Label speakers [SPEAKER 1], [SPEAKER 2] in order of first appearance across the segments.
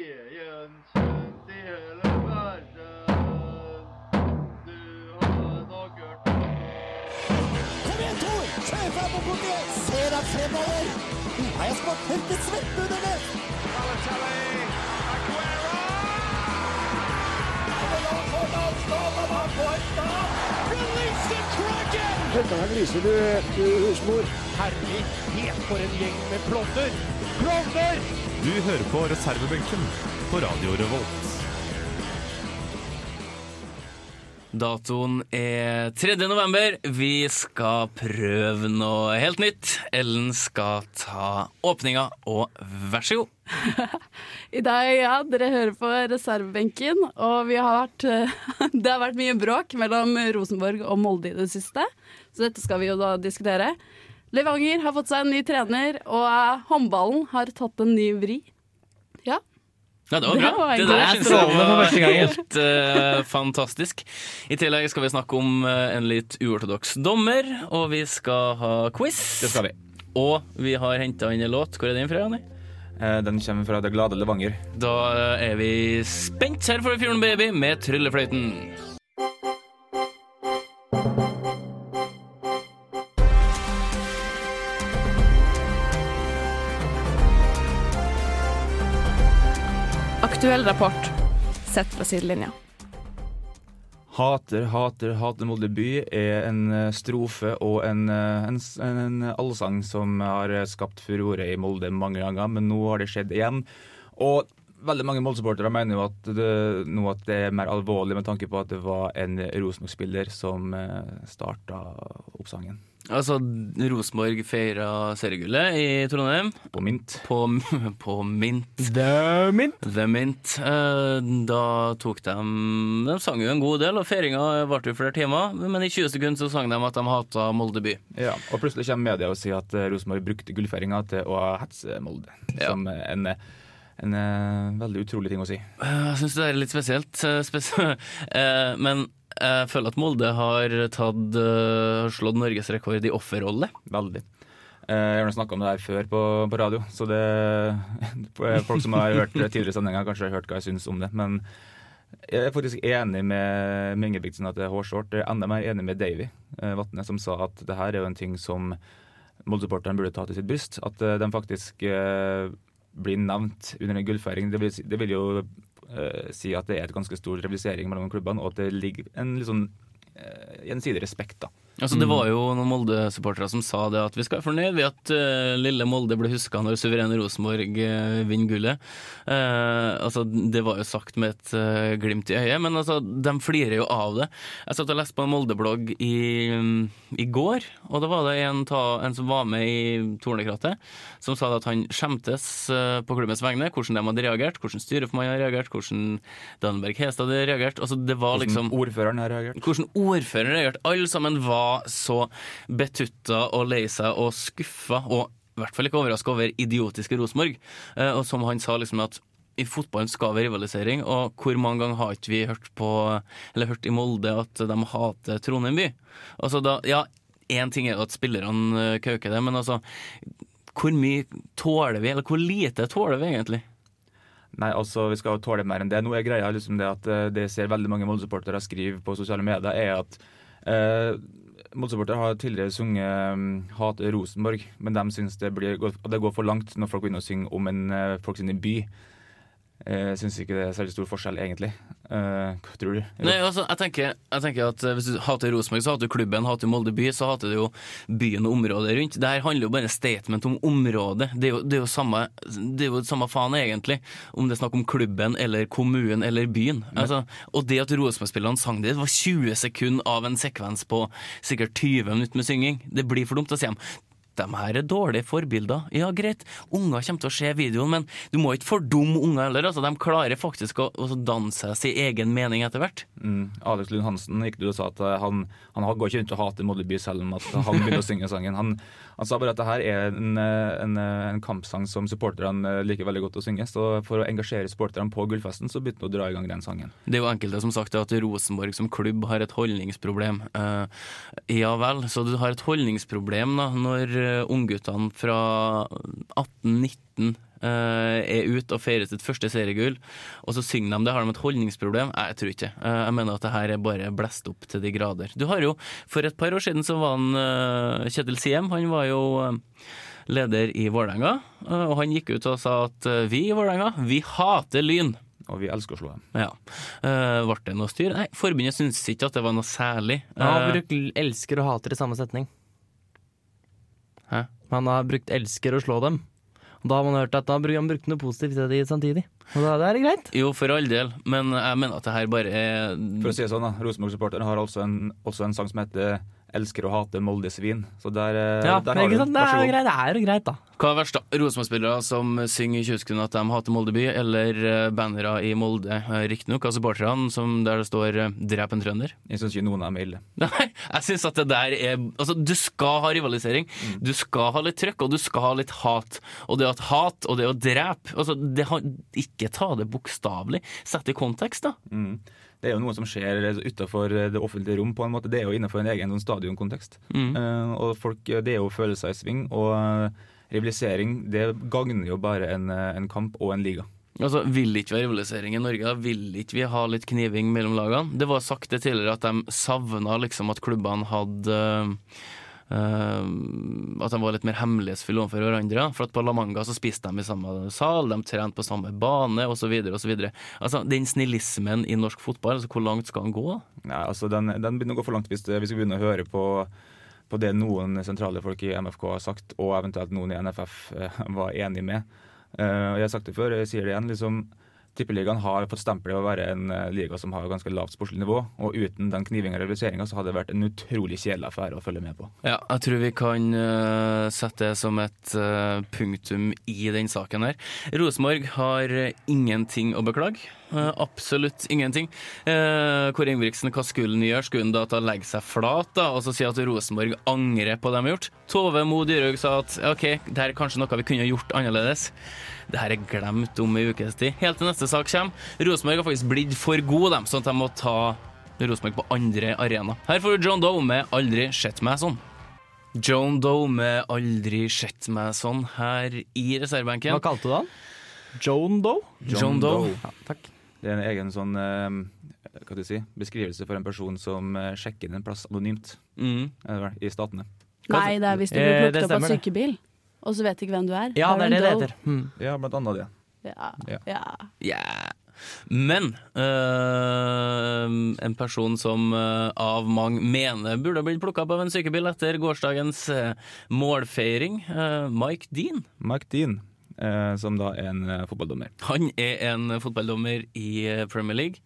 [SPEAKER 1] Veien kjent i hele verden. Du har nok hørt om
[SPEAKER 2] Kom igjen, Tor! Kjør fram og bort igjen! Se deg fremover! Nå har jeg smakt tørke svette under det!
[SPEAKER 3] Du hører på reservebenken på Radio Revolt.
[SPEAKER 4] Datoen er 3. november. Vi skal prøve noe helt nytt. Ellen skal ta åpninga, og vær så god.
[SPEAKER 5] I dag, ja, dere hører på reservebenken, og vi har vært, eh, det har vært mye bråk mellom Rosenborg og Molde i det siste, så dette skal vi jo da diskutere. Levanger har fått seg en ny trener, og eh, håndballen har tatt en ny vri. Ja,
[SPEAKER 4] Ja, det var
[SPEAKER 5] Det
[SPEAKER 4] bra.
[SPEAKER 5] var en
[SPEAKER 4] Det
[SPEAKER 5] god
[SPEAKER 4] der
[SPEAKER 5] start.
[SPEAKER 4] syns jeg var helt eh, fantastisk. I tillegg skal vi snakke om eh, en litt uortodoks dommer, og vi skal ha quiz.
[SPEAKER 6] Det skal vi.
[SPEAKER 4] Og vi har henta inn en låt. Hvor er den fra, Jonny?
[SPEAKER 6] Eh, Den kommer fra Det glade Levanger.
[SPEAKER 4] Da eh, er vi spent her for Fjorden Baby med Tryllefløyten.
[SPEAKER 7] Aktuell rapport sett fra sidelinja.
[SPEAKER 6] Hater, hater, hater Molde by er en eh, strofe og en, eh, en, s- en, en allsang som har eh, skapt furore i Molde mange ganger, men nå har det skjedd igjen. Og veldig mange Molde-supportere mener jo at det, nå at det er mer alvorlig med tanke på at det var en Rosenborg-spiller som starta oppsangen
[SPEAKER 4] Altså, Rosenborg feira seriegullet i Trondheim
[SPEAKER 6] på mynt.
[SPEAKER 4] på, på Mint.
[SPEAKER 6] The mynt?
[SPEAKER 4] The Mint. Eh, Da tok de De sang jo en god del, og feiringa varte jo flere timer. Men i 20 sekunder så sang de at de hata Molde by.
[SPEAKER 6] Ja, og plutselig kommer media og sier at eh, Rosenborg brukte gullfeiringa til å hetse Molde.
[SPEAKER 4] Ja.
[SPEAKER 6] Som eh, en, eh, en eh, veldig utrolig ting å si.
[SPEAKER 4] Eh, Jeg syns det der er litt spesielt. eh, spes- eh, Men jeg føler at Molde har tatt, eh, slått norgesrekord i offerrolle.
[SPEAKER 6] Veldig. Eh, Jeg har snakka om det her før på, på radio, så det Folk som har hørt tidligere sendinger, har kanskje hørt hva jeg syns om det. Men jeg er faktisk enig med med Ingebrigtsen at det er hårshort. Jeg er enda mer enig med Davy eh, Vatne, som sa at det her er jo en ting som Molde-supporterne burde ta til sitt bryst. At eh, de faktisk eh, blir nevnt under en gullfeiring. Det vil, si- det vil jo eh, si at det er et ganske stor rivalisering mellom klubbene, og at det ligger en litt sånn eh, gjensidig respekt, da.
[SPEAKER 4] Altså, det var jo noen Molde-supportere som sa det at vi skal være fornøyd ved at eh, lille Molde ble huska når suverene Rosenborg eh, vinner gullet. Eh, altså, det var jo sagt med et eh, glimt i øyet, men altså, de flirer jo av det. Jeg satt og leste på en Molde-blogg i, mm, i går, og da var det en, ta, en som var med i Tornekrattet, som sa at han skjemtes eh, på klubbens vegne, hvordan de hadde reagert, hvordan styreformannen hadde reagert, hvordan Danberg Hestad hadde reagert. Altså, det var liksom
[SPEAKER 6] Ordføreren her har hørt.
[SPEAKER 4] hvordan ordføreren reagerte. Alle sammen var så betutta og lei seg og skuffa, og i hvert fall ikke overraska over idiotiske Rosenborg. Eh, Og som han sa, liksom at i fotballen skal vi ha rivalisering, og hvor mange ganger har ikke vi hørt på Eller hørt i Molde at de hater Trondheim by? Altså da, ja, én ting er jo at spillerne eh, kauker det, men altså Hvor mye tåler vi, eller hvor lite tåler vi egentlig?
[SPEAKER 6] Nei, altså, vi skal tåle mer enn det. Nå er greia liksom det at eh, det jeg ser veldig mange Molde-supportere skriver på sosiale medier, er at eh, Molde-supportere har tidligere sunget mm, Hat Rosenborg, men de syns det, blir, at det går for langt når folk begynner å synge om en eh, folk sin by. Jeg syns ikke det er særlig stor forskjell, egentlig. Eh, hva tror du?
[SPEAKER 4] Nei, altså, jeg tenker, jeg tenker at eh, Hvis du hater Rosenborg, så hater du klubben. Hater du Molde by, så hater du jo byen og området rundt. Det her handler jo bare statement om området. Det er jo, det er jo, samme, det er jo samme faen, egentlig, om det er snakk om klubben eller kommunen eller byen. Altså, og det at Rosenborg-spillerne sang det, det var 20 sekunder av en sekvens på sikkert 20 minutter med synging. Det blir for dumt å si dem. De her er dårlige forbilder. Ja, greit, unger kommer til å se videoen, men du må ikke fordumme unger heller. Altså, de klarer faktisk å å danne seg sin egen mening etter hvert.
[SPEAKER 6] Mm, Alex Lund Hansen gikk du og sa at eh, han, han går ikke rundt og hater Molde by selv om at han begynner å synge sangen. Han, han sa bare at det her er en, eh, en, eh, en kampsang som supporterne eh, liker veldig godt å synge. Så for å engasjere supporterne på gullfesten, så begynte han å dra i gang den sangen.
[SPEAKER 4] Det er jo enkelte som sagt at Rosenborg som klubb har et holdningsproblem. Eh, ja vel, så du har et holdningsproblem da, når eh, ungguttene fra 18-19 eh, er ute og feirer sitt første seriegull, og så synger de det. Har de et holdningsproblem? Nei, Jeg tror ikke det. Eh, Jeg mener at det her er bare blest opp til de grader. Du har jo, For et par år siden så var han eh, Kjetil Siem. Han var jo eh, leder i Vålerenga, eh, og han gikk ut og sa at eh, vi i Vålerenga, vi hater Lyn.
[SPEAKER 6] Og vi elsker å slå dem.
[SPEAKER 4] Ja. Eh, ble det noe styr? Nei, forbundet syntes ikke at det var noe særlig.
[SPEAKER 8] Han har
[SPEAKER 4] Eh,
[SPEAKER 8] brukt l- elsker og hater i samme setning.
[SPEAKER 4] Hæ?
[SPEAKER 8] Han har brukt elsker og slå dem. Og da har man hørt at han bruk- han brukte noe positivt i det samtidig. Og da da er det greit.
[SPEAKER 4] jo, for all del, men jeg mener at det her bare er
[SPEAKER 6] For å si det sånn, da, Rosenborg-supporterne har også en, også en sang som heter 'Elsker å hate Molde-svin'. Så der, eh,
[SPEAKER 8] Ja,
[SPEAKER 6] der har
[SPEAKER 8] men
[SPEAKER 6] du den.
[SPEAKER 8] ikke sant? Det
[SPEAKER 6] Vær
[SPEAKER 8] er
[SPEAKER 6] så
[SPEAKER 8] jo
[SPEAKER 6] god.
[SPEAKER 8] greit, det er jo greit da.
[SPEAKER 4] Hva er verst, da? Rosenborg-spillere som synger i tjuvskudd at de hater Molde by, eller eh, bannere i Molde, eh, riktignok, altså supporterne som der det står eh, 'drep en trønder'?
[SPEAKER 6] Jeg syns ikke noen av dem er ille.
[SPEAKER 4] Nei, jeg syns at det der er Altså, du skal ha rivalisering.
[SPEAKER 6] Mm.
[SPEAKER 4] Du skal ha litt trøkk, og du skal ha litt hat. Og det at hat, og det å drepe altså, det har, Ikke ta det bokstavelig. Sett det i kontekst, da.
[SPEAKER 6] Mm. Det er jo noe som skjer utafor det offentlige rom, på en måte. Det er jo innenfor en egen sånn stadionkontekst. Eh, og folk, det er jo følelser i sving. Og eh, rivalisering, det gagner jo bare en, eh, en kamp og en liga.
[SPEAKER 4] Altså, Vil ikke vi ha rivalisering i Norge? da? Vil ikke vi ha litt kniving mellom lagene? Det var sagt det tidligere at de savna liksom at klubbene hadde eh, At de var litt mer hemmelighetsfulle overfor hverandre. For at på La Manga så spiste de i samme sal, de trente på samme bane osv. Altså, den snillismen i norsk fotball, altså, hvor langt skal den gå? da?
[SPEAKER 6] Nei, altså den, den begynner å gå for langt hvis det- vi skal begynne å høre på, på det noen sentrale folk i MFK har sagt, og eventuelt noen i NFF eh, var enig med. Eh, og jeg har sagt det før, jeg sier det igjen. liksom Tippeligaen har fått stempel i å være en eh, liga som har ganske lavt sportslig nivå. Og uten den knivinga og rivaliseringa så hadde det vært en utrolig kjedelig affære å følge med på.
[SPEAKER 4] Ja, jeg tror vi kan eh, sette det som et eh, punktum i den saken her. Rosenborg har eh, ingenting å beklage. Eh, absolutt ingenting. Uh, Kåre Ingebrigtsen, hva skulle han gjøre? Skulle han da ta legge seg flat da, og så si at Rosenborg angrer på det de har gjort? Tove Mo Dyrhaug sa at OK, det her er kanskje noe vi kunne gjort annerledes. Det her er glemt om ei ukes tid. Helt til neste sak kommer. Rosenborg har faktisk blitt for gode, dem, sånn at de må ta Rosenborg på andre arena. Her får du John Doe med 'Aldri sett meg sånn'. Joan Doe med 'Aldri sett meg sånn' her i
[SPEAKER 8] Hva
[SPEAKER 4] reservebenken.
[SPEAKER 8] kalte du han? Joan Doe?
[SPEAKER 4] John Doe.
[SPEAKER 8] Ja, takk.
[SPEAKER 6] Det er en egen sånn eh, hva skal du si, beskrivelse for en person som eh, sjekker inn en plass anonymt
[SPEAKER 4] Mm.
[SPEAKER 6] er det vel, i statene.
[SPEAKER 5] Nei, det er hvis du
[SPEAKER 8] Eh,
[SPEAKER 5] blir
[SPEAKER 8] det
[SPEAKER 5] plukket opp av
[SPEAKER 8] stemmer, det.
[SPEAKER 5] sykebil, og så vet ikke hvem du er.
[SPEAKER 8] Ja, det er det det
[SPEAKER 5] en
[SPEAKER 8] heter. Hmm.
[SPEAKER 6] Ja, blant annet det.
[SPEAKER 5] doll.
[SPEAKER 6] Ja.
[SPEAKER 5] Ja. ja.
[SPEAKER 4] Yeah. Men eh, en person som eh, av mange mener burde ha blitt plukka opp av en sykebil etter gårsdagens eh, målfeiring, eh, Mike Dean.
[SPEAKER 6] Mike Dean, eh, som da er en eh, fotballdommer.
[SPEAKER 4] Han er en fotballdommer i eh, Premier League.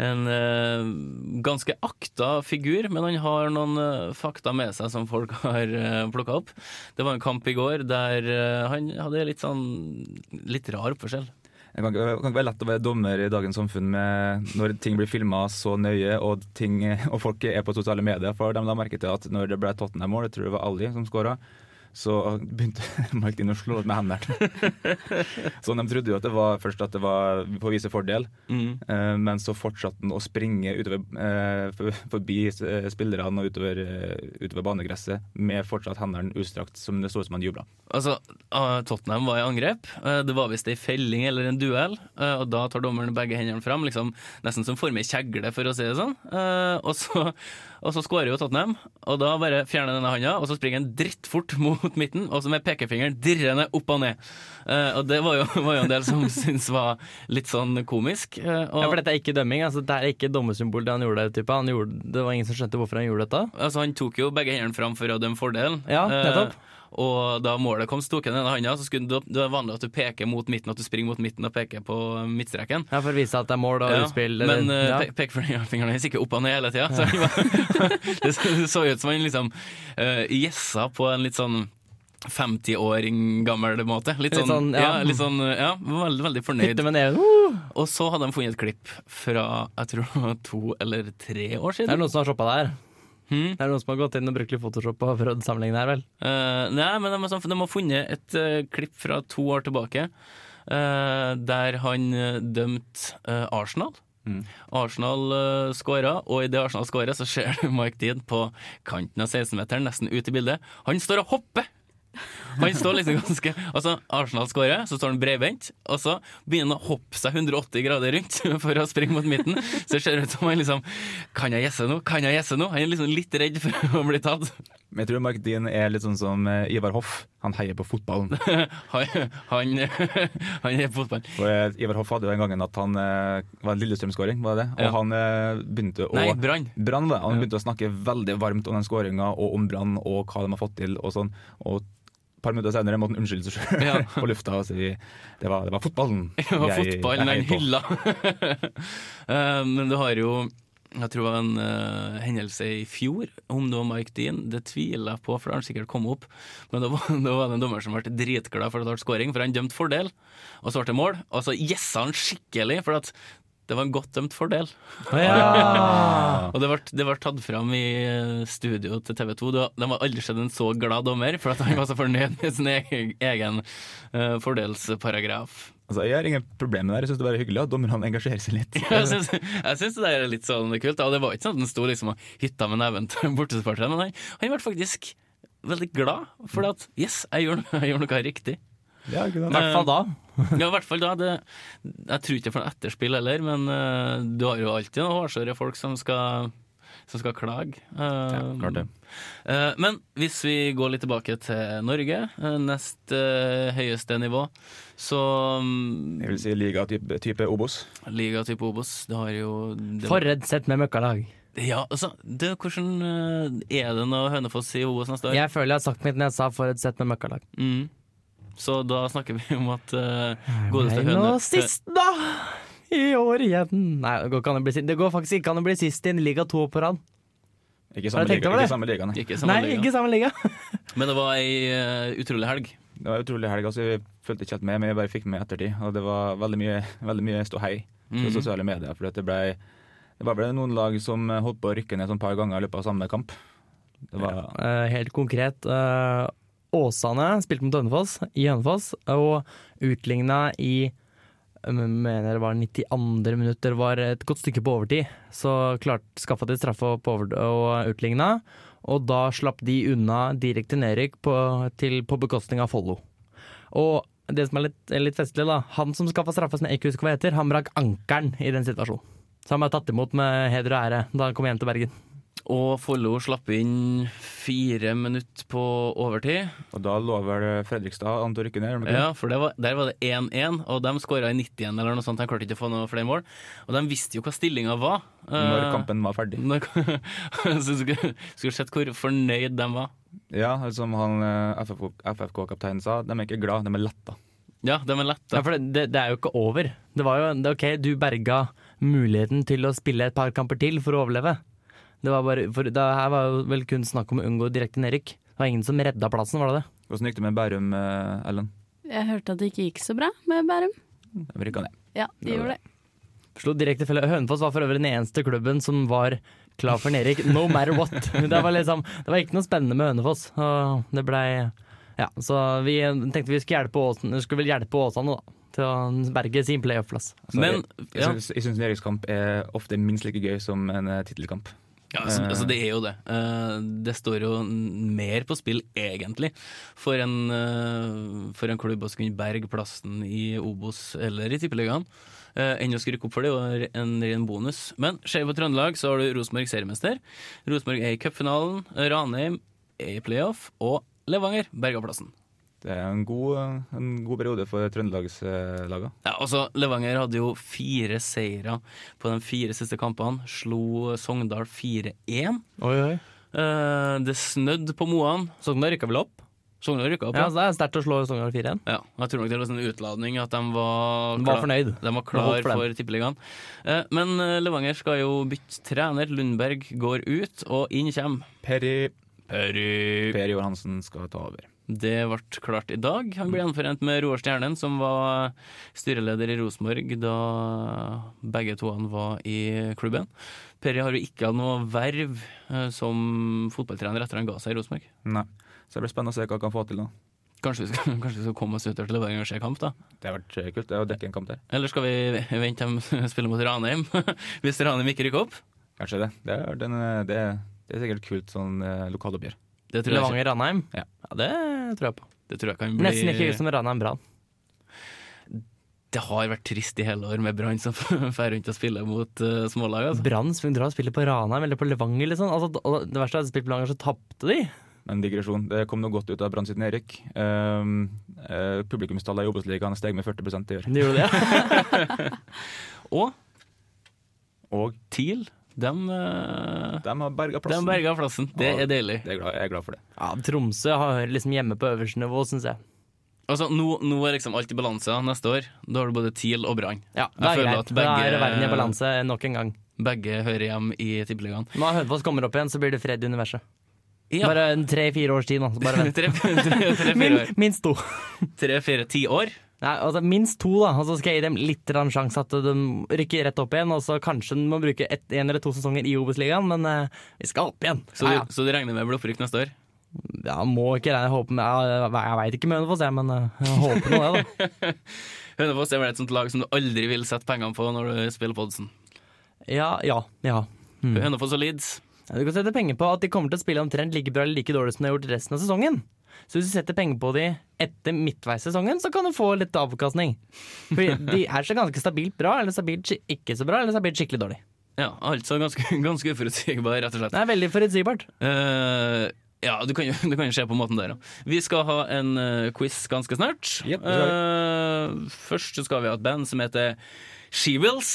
[SPEAKER 4] En eh, ganske akta figur, men han har noen eh, fakta med seg som folk har uh, plukka opp. Det var en kamp i går der eh, han hadde litt sånn litt rar oppførsel.
[SPEAKER 6] Det kan, ikke- det kan ikke være lett å være dommer i dagens samfunn med når ting blir filma så nøye og, ting, og folk er på sosiale medier. For de la merke til at når det ble Tottenham-mål, jeg tror det var Ali som skåra, så begynte Mike Dean å slå med hendene. Så de trodde jo at det var først at det var på å vise fordel, eh, men så fortsatte han å springe utover, eh, for- forbi eh, spillerne og utover, eh, utover banegresset med fortsatt hendene utstrakt, som det så ut som han jubla.
[SPEAKER 4] Altså, eh, Tottenham var i angrep. Eh, Det var visst ei felling eller en duell. eh, Og da tar dommeren begge hendene fram, liksom, nesten som form ei kjegle, for å si det sånn. Eh, Og så, og så skårer jo Tottenham, og da bare fjerner denne handa, og så springer han drittfort mot midten, og så med pekefingeren dirrende opp og ned. Eh, Og det var jo, var jo en del som syntes var litt sånn komisk. eh, Og,
[SPEAKER 8] Ja, for dette er ikke dømming. Altså, det er ikke dommesymbol det han gjorde. Type. Han gjorde det var ingen som skjønte hvorfor han gjorde dette.
[SPEAKER 4] Altså, han tok jo begge hendene fram for å dømme fordelen.
[SPEAKER 8] Ja, nettopp.
[SPEAKER 4] Eh, og da målet kom, så tok han denne handa. Så skulle, du- det er vanlig at du peker mot midten, at du springer mot midten og peker på midtstreken.
[SPEAKER 8] Ja, For å vise at det er mål og
[SPEAKER 4] Ja,
[SPEAKER 8] utspill. eller-
[SPEAKER 4] men
[SPEAKER 6] eh,
[SPEAKER 4] uh,
[SPEAKER 8] ja.
[SPEAKER 4] pe pekefingeren hans gikk opp og ned hele tida. Så han var- det så- det så ut som han liksom eh, gjessa på en litt sånn 50-åring gammel måte. Litt
[SPEAKER 8] Litt
[SPEAKER 4] sånn,
[SPEAKER 8] sånn,
[SPEAKER 4] ja.
[SPEAKER 8] ja.
[SPEAKER 4] litt sånn eh, ja, veldig, veldig fornøyd.
[SPEAKER 8] Hytte med neven. Uh!
[SPEAKER 4] Og så hadde de funnet et klipp fra jeg tror det var to eller tre år
[SPEAKER 8] Det er
[SPEAKER 4] siden.
[SPEAKER 8] noen som har shoppa det her.
[SPEAKER 4] Hmm.
[SPEAKER 8] Det er noen som har gått inn og brukt litt Photoshop og prøvd å sammenligne her, vel.
[SPEAKER 4] Eh, nei, men de, har- de har funnet et eh, klipp fra to år tilbake, eh, der han uh, dømte eh, Arsenal. Arsenal uh, skåra, og idet Arsenal skåra, så ser du Mike Dean på kanten av 16-meteren, nesten ut i bildet. Han står og hopper! Han står liksom ganske Altså, Arsenal skårer, så står han bredbent, og så begynner han å hoppe seg 180 grader rundt for å springe mot midten. Så det ser ut som han liksom Kan jeg gjesse nå? Kan jeg gjesse nå? Han er liksom litt redd for å bli tatt.
[SPEAKER 6] Men jeg tror Mark Dean er litt sånn som eh, Ivar Hoff. Han heier på fotballen.
[SPEAKER 4] Han, han, han er fotball.
[SPEAKER 6] Og eh, Ivar Hoff hadde jo den gangen at han eh, var en Lillestrøm-skåring, var det det? Og
[SPEAKER 4] Ja.
[SPEAKER 6] han eh, begynte å
[SPEAKER 4] Nei, Brann.
[SPEAKER 6] Brann, da. Han
[SPEAKER 4] Ja.
[SPEAKER 6] begynte å snakke veldig varmt om den skåringa og om Brann og hva de har fått til og sånn. Og et par minutter senere måtte han unnskylde seg sjøl
[SPEAKER 4] Ja.
[SPEAKER 6] på lufta og si det var, det var fotballen.
[SPEAKER 4] Det var
[SPEAKER 6] jeg-
[SPEAKER 4] fotballen
[SPEAKER 6] jeg
[SPEAKER 4] han
[SPEAKER 6] heier på».
[SPEAKER 4] hylla. Eh, Men du har jo jeg tror det var en eh, hendelse i fjor, om det var Mike Dean, det tviler jeg på, for det har han sikkert kommet opp. Men da var, da var det en dommer som ble dritglad for at det ble scoring, for han dømte fordel, og så ble det mål. Og så gjessa han skikkelig, for at det var en godt dømt fordel.
[SPEAKER 8] Ja.
[SPEAKER 4] Og det ble, det ble tatt fram i eh, studio til TV 2. De har aldri sett en så glad dommer, for at han var så fornøyd med sin egen, egen eh, fordelsparagraf.
[SPEAKER 6] Altså, jeg har ingen problemer med det. her. Jeg syns det er bare hyggelig at dommerne engasjerer seg litt.
[SPEAKER 4] Jeg syns, jeg syns det der er litt sånn kult. da. Og det var ikke sånn at han sto liksom og hytta med neven til bortesupporterne, men han, han ble faktisk veldig glad for at yes, jeg gjorde, jeg gjorde noe riktig.
[SPEAKER 6] Ja, ikke
[SPEAKER 8] I
[SPEAKER 6] sant?
[SPEAKER 8] hvert fall da.
[SPEAKER 4] Ja, i hvert fall da. Det, jeg tror ikke det får noe etterspill heller, men eh, du har jo alltid noen hårsåre folk som skal, som skal klage. Eh,
[SPEAKER 6] klart det.
[SPEAKER 4] eh, men hvis vi går litt tilbake til Norge, eh, nest eh, høyeste nivå, så um,
[SPEAKER 6] Jeg vil si liga type, type Obos.
[SPEAKER 4] Liga type Obos, det har jo det-
[SPEAKER 8] Forredd sett med møkkalag.
[SPEAKER 4] Ja, altså, det, hvordan eh, er det når Hønefoss i OS neste år?
[SPEAKER 8] Jeg føler jeg har sagt mitt når jeg sa forredd sett med møkkalag.
[SPEAKER 4] Mm. Så da snakker vi om at eh, godeste
[SPEAKER 8] Nei, nå
[SPEAKER 4] Høne...
[SPEAKER 8] sist, da! I år igjen. Nei, det går, ikke an å bli, sist. det går faktisk ikke an å bli sist i en liga to år på rad.
[SPEAKER 6] Ikke
[SPEAKER 8] Har
[SPEAKER 6] samme
[SPEAKER 8] du tenkt
[SPEAKER 6] liga,
[SPEAKER 8] over det?
[SPEAKER 6] ikke samme liga, nei.
[SPEAKER 4] Ikke samme
[SPEAKER 8] Nei,
[SPEAKER 4] liga.
[SPEAKER 8] ikke samme liga.
[SPEAKER 4] Men det var ei eh, utrolig helg.
[SPEAKER 6] Det var utrolig helg. Altså, jeg fulgte ikke helt med, men jeg bare fikk med i ettertid. Og det var veldig mye, veldig mye ståhei på
[SPEAKER 4] Mhm.
[SPEAKER 6] sosiale medier. For at det, ble, det var vel noen lag som holdt på å rykke ned sånn et par ganger i løpet av samme kamp. Det var
[SPEAKER 8] Eh, helt konkret. eh, Åsane spilte mot Hønefoss i Hønefoss og utligna i eh, mener det var 92. minutter, var et godt stykke på overtid. Så klart skaffa de straffe på over, og utligna. Og da slapp de unna direkte nedrykk på, til, på bekostning av Follo. Og det som er litt, er litt festlig, da. Han som skaffa straffa, som jeg ikke husker hva heter, han brakk ankelen i den situasjonen. Så han ble tatt imot med heder og ære da han kom hjem til Bergen.
[SPEAKER 4] Og Follo slapp inn fire minutter på overtid.
[SPEAKER 6] Og da lå vel Fredrikstad an til å rykke ned. gjorde de ikke det?
[SPEAKER 4] Ja, for det var, Der var det 1-1, og de skåra i 90 eller noe sånt. De klarte ikke å få noe flere mål. Og de visste jo hva stillinga var. Eh,
[SPEAKER 6] Når kampen var ferdig.
[SPEAKER 4] når- Så skulle, skulle sett hvor fornøyd de var.
[SPEAKER 6] Ja, som han eh, FFK FFK-kapteinen sa, de er ikke glad, de er letta.
[SPEAKER 4] Ja, de er letta.
[SPEAKER 8] Ja, for det, det, det er jo ikke over. Det var jo det, OK, du berga muligheten til å spille et par kamper til for å overleve. Det var bare, for det her var jo vel kun snakk om å unngå direkte nedrykk. Det var ingen som redda plassen, var det det?
[SPEAKER 6] Hvordan gikk det med Bærum, eh, Ellen?
[SPEAKER 5] Jeg hørte at det ikke gikk så bra med Bærum.
[SPEAKER 6] De rykka ned.
[SPEAKER 5] Ja, de gjorde det.
[SPEAKER 8] Slo direkte felle. Hønefoss var for øvrig den eneste klubben som var klar for nedrykk, no matter what. Det var, liksom, det var ikke noe spennende med Hønefoss. og Det blei Ja, så vi tenkte vi skulle hjelpe Åsane, skulle vel hjelpe Åsane, da. Til å berge sin playoff-plass.
[SPEAKER 6] Altså,
[SPEAKER 4] Men-
[SPEAKER 6] jeg,
[SPEAKER 4] ja.
[SPEAKER 6] jeg, syns- jeg syns nedrykkskamp er ofte minst like gøy som en eh, tittelkamp.
[SPEAKER 4] Ja, altså, altså det er jo det. Eh, det står jo n- mer på spill, egentlig, for en, eh, for en klubb å skulle berge plassen i Obos eller i Tippeligaen. eh, enn å skrykke opp for det, og en ren bonus. Men ser vi på Trøndelag, så har du Rosenborg seriemester. Rosenborg er i cupfinalen. Ranheim er i playoff. Og Levanger berga plassen.
[SPEAKER 6] Det er en god, en god periode for eh, trøndelagslaga.
[SPEAKER 4] Ja, altså, Levanger hadde jo fire seire på de fire siste kampene. Slo Sogndal 4-1.
[SPEAKER 8] Oi, oi.
[SPEAKER 4] Eh, det snødde på Moan.
[SPEAKER 8] Sogndal rykka vel opp?
[SPEAKER 4] Sogndal rykka opp.
[SPEAKER 8] Ja, altså. så det er sterkt å slå Sogndal 4 igjen.
[SPEAKER 4] Ja, og jeg tror nok det var sånn utladning at de var,
[SPEAKER 8] De var fornøyd.
[SPEAKER 4] De var
[SPEAKER 8] Det
[SPEAKER 4] klar
[SPEAKER 8] holdt for dem.
[SPEAKER 4] for Tippeligaen. Eh, Men eh, Levanger skal jo bytte trener. Lundberg går ut, og inn kommer
[SPEAKER 6] Perry,
[SPEAKER 4] Perry.
[SPEAKER 6] per Johan Hansen skal ta over.
[SPEAKER 4] Det ble klart i dag. Han ble gjenforent med Roar Stjernen, som var styreleder i Rosenborg da begge to han var i klubben. Perry har jo ikke hatt noe verv eh, som fotballtrener etter han ga seg i Rosenborg.
[SPEAKER 6] Nei. Så det blir spennende å se hva han kan få til nå.
[SPEAKER 4] Kanskje vi skal, kanskje vi skal komme oss ut til Levanger og se kamp, da?
[SPEAKER 6] Det har vært eh, kult det er å dekke en kamp der.
[SPEAKER 4] Eller skal vi vente dem spille mot Ranheim, hvis Ranheim ikke rykker opp?
[SPEAKER 6] Kanskje det. Det er, den, eh, det, er- det er sikkert kult sånn eh, lokaloppgjør.
[SPEAKER 4] Det tror, jeg,
[SPEAKER 8] Levanger-Ranheim.
[SPEAKER 6] Ja.
[SPEAKER 8] Ja, det tror jeg på.
[SPEAKER 4] ikke- det tror jeg kan bli
[SPEAKER 8] Nesten like gøy som Ranheim-Brann.
[SPEAKER 4] Det har vært trist i hele år med Brann som drar rundt og spiller mot uh, smålag. Altså.
[SPEAKER 8] Brann som drar og spiller på Ranheim eller på Levanger, liksom. Altså, det- det verste er at de spilte på Levanger, så tapte de.
[SPEAKER 6] En digresjon. Det kom noe godt ut av Brann sitt nedrykk. Um, eh, Publikumstallet i Obos-ligaen steg med 40 i år.
[SPEAKER 8] De gjorde det.
[SPEAKER 4] Og
[SPEAKER 6] Og
[SPEAKER 4] TIL, de, eh,
[SPEAKER 6] de har berga
[SPEAKER 4] de
[SPEAKER 6] plassen.
[SPEAKER 4] berga plassen. Det
[SPEAKER 6] Ja.
[SPEAKER 4] er deilig.
[SPEAKER 6] Det er glad, jeg er glad for det.
[SPEAKER 8] Ja, Tromsø har liksom hjemme på øverste nivå, syns jeg.
[SPEAKER 4] Altså, nå, nå er liksom alt i balanse da, neste år. Da har du både TIL og Brann.
[SPEAKER 8] Ja, det
[SPEAKER 4] Jeg
[SPEAKER 8] er
[SPEAKER 4] føler
[SPEAKER 8] greit.
[SPEAKER 4] at
[SPEAKER 8] Da
[SPEAKER 4] begge-
[SPEAKER 8] er verden i balanse nok en gang.
[SPEAKER 4] Begge hører hjem i Tippeligaen.
[SPEAKER 8] Når Hødfoss kommer opp igjen, så blir det fred i universet.
[SPEAKER 4] Ja.
[SPEAKER 8] Bare en tre-fire års tid nå. Så bare vent. Min,
[SPEAKER 4] Tre-fire
[SPEAKER 8] minst to.
[SPEAKER 4] ti år.
[SPEAKER 8] Nei, altså Minst to, da. Og så skal jeg gi dem litt grann sjanse at de rykker rett opp igjen. Og så kanskje de må bruke ett- en eller to sesonger i Obos-ligaen, men eh, vi skal opp igjen.
[SPEAKER 4] Så,
[SPEAKER 8] ja,
[SPEAKER 4] du, så du regner med blodforrykk neste år?
[SPEAKER 8] ja. ja, må ikke regne håpe med Jeg, jeg veit ikke med Hønefoss, jeg, men eh, jeg håper nå det, da.
[SPEAKER 4] Hønefoss er vel et sånt lag som du aldri vil sette pengene på når du spiller på oddsen.
[SPEAKER 8] Ja, ja. ja.
[SPEAKER 4] Hønefoss og Leeds.
[SPEAKER 8] Ja, Du kan sette penger på at de kommer til å spille omtrent like bra eller like dårlig som de har gjort resten av sesongen. Så hvis du setter penger på de etter midtveis i sesongen, så kan du få litt avkastning. Fordi de er så ganske stabilt bra, eller stabilt skik- ikke så bra, eller stabilt skikkelig dårlig.
[SPEAKER 4] Ja, altså ganske, ganske uforutsigbar, rett og slett.
[SPEAKER 8] Det er veldig forutsigbart.
[SPEAKER 4] Eh, ja, du kan, jo, du kan jo se på måten der, ja. Vi skal ha en eh, quiz ganske snart.
[SPEAKER 6] Jep, det skal
[SPEAKER 4] Eh, først så skal vi ha et band som heter Shewills.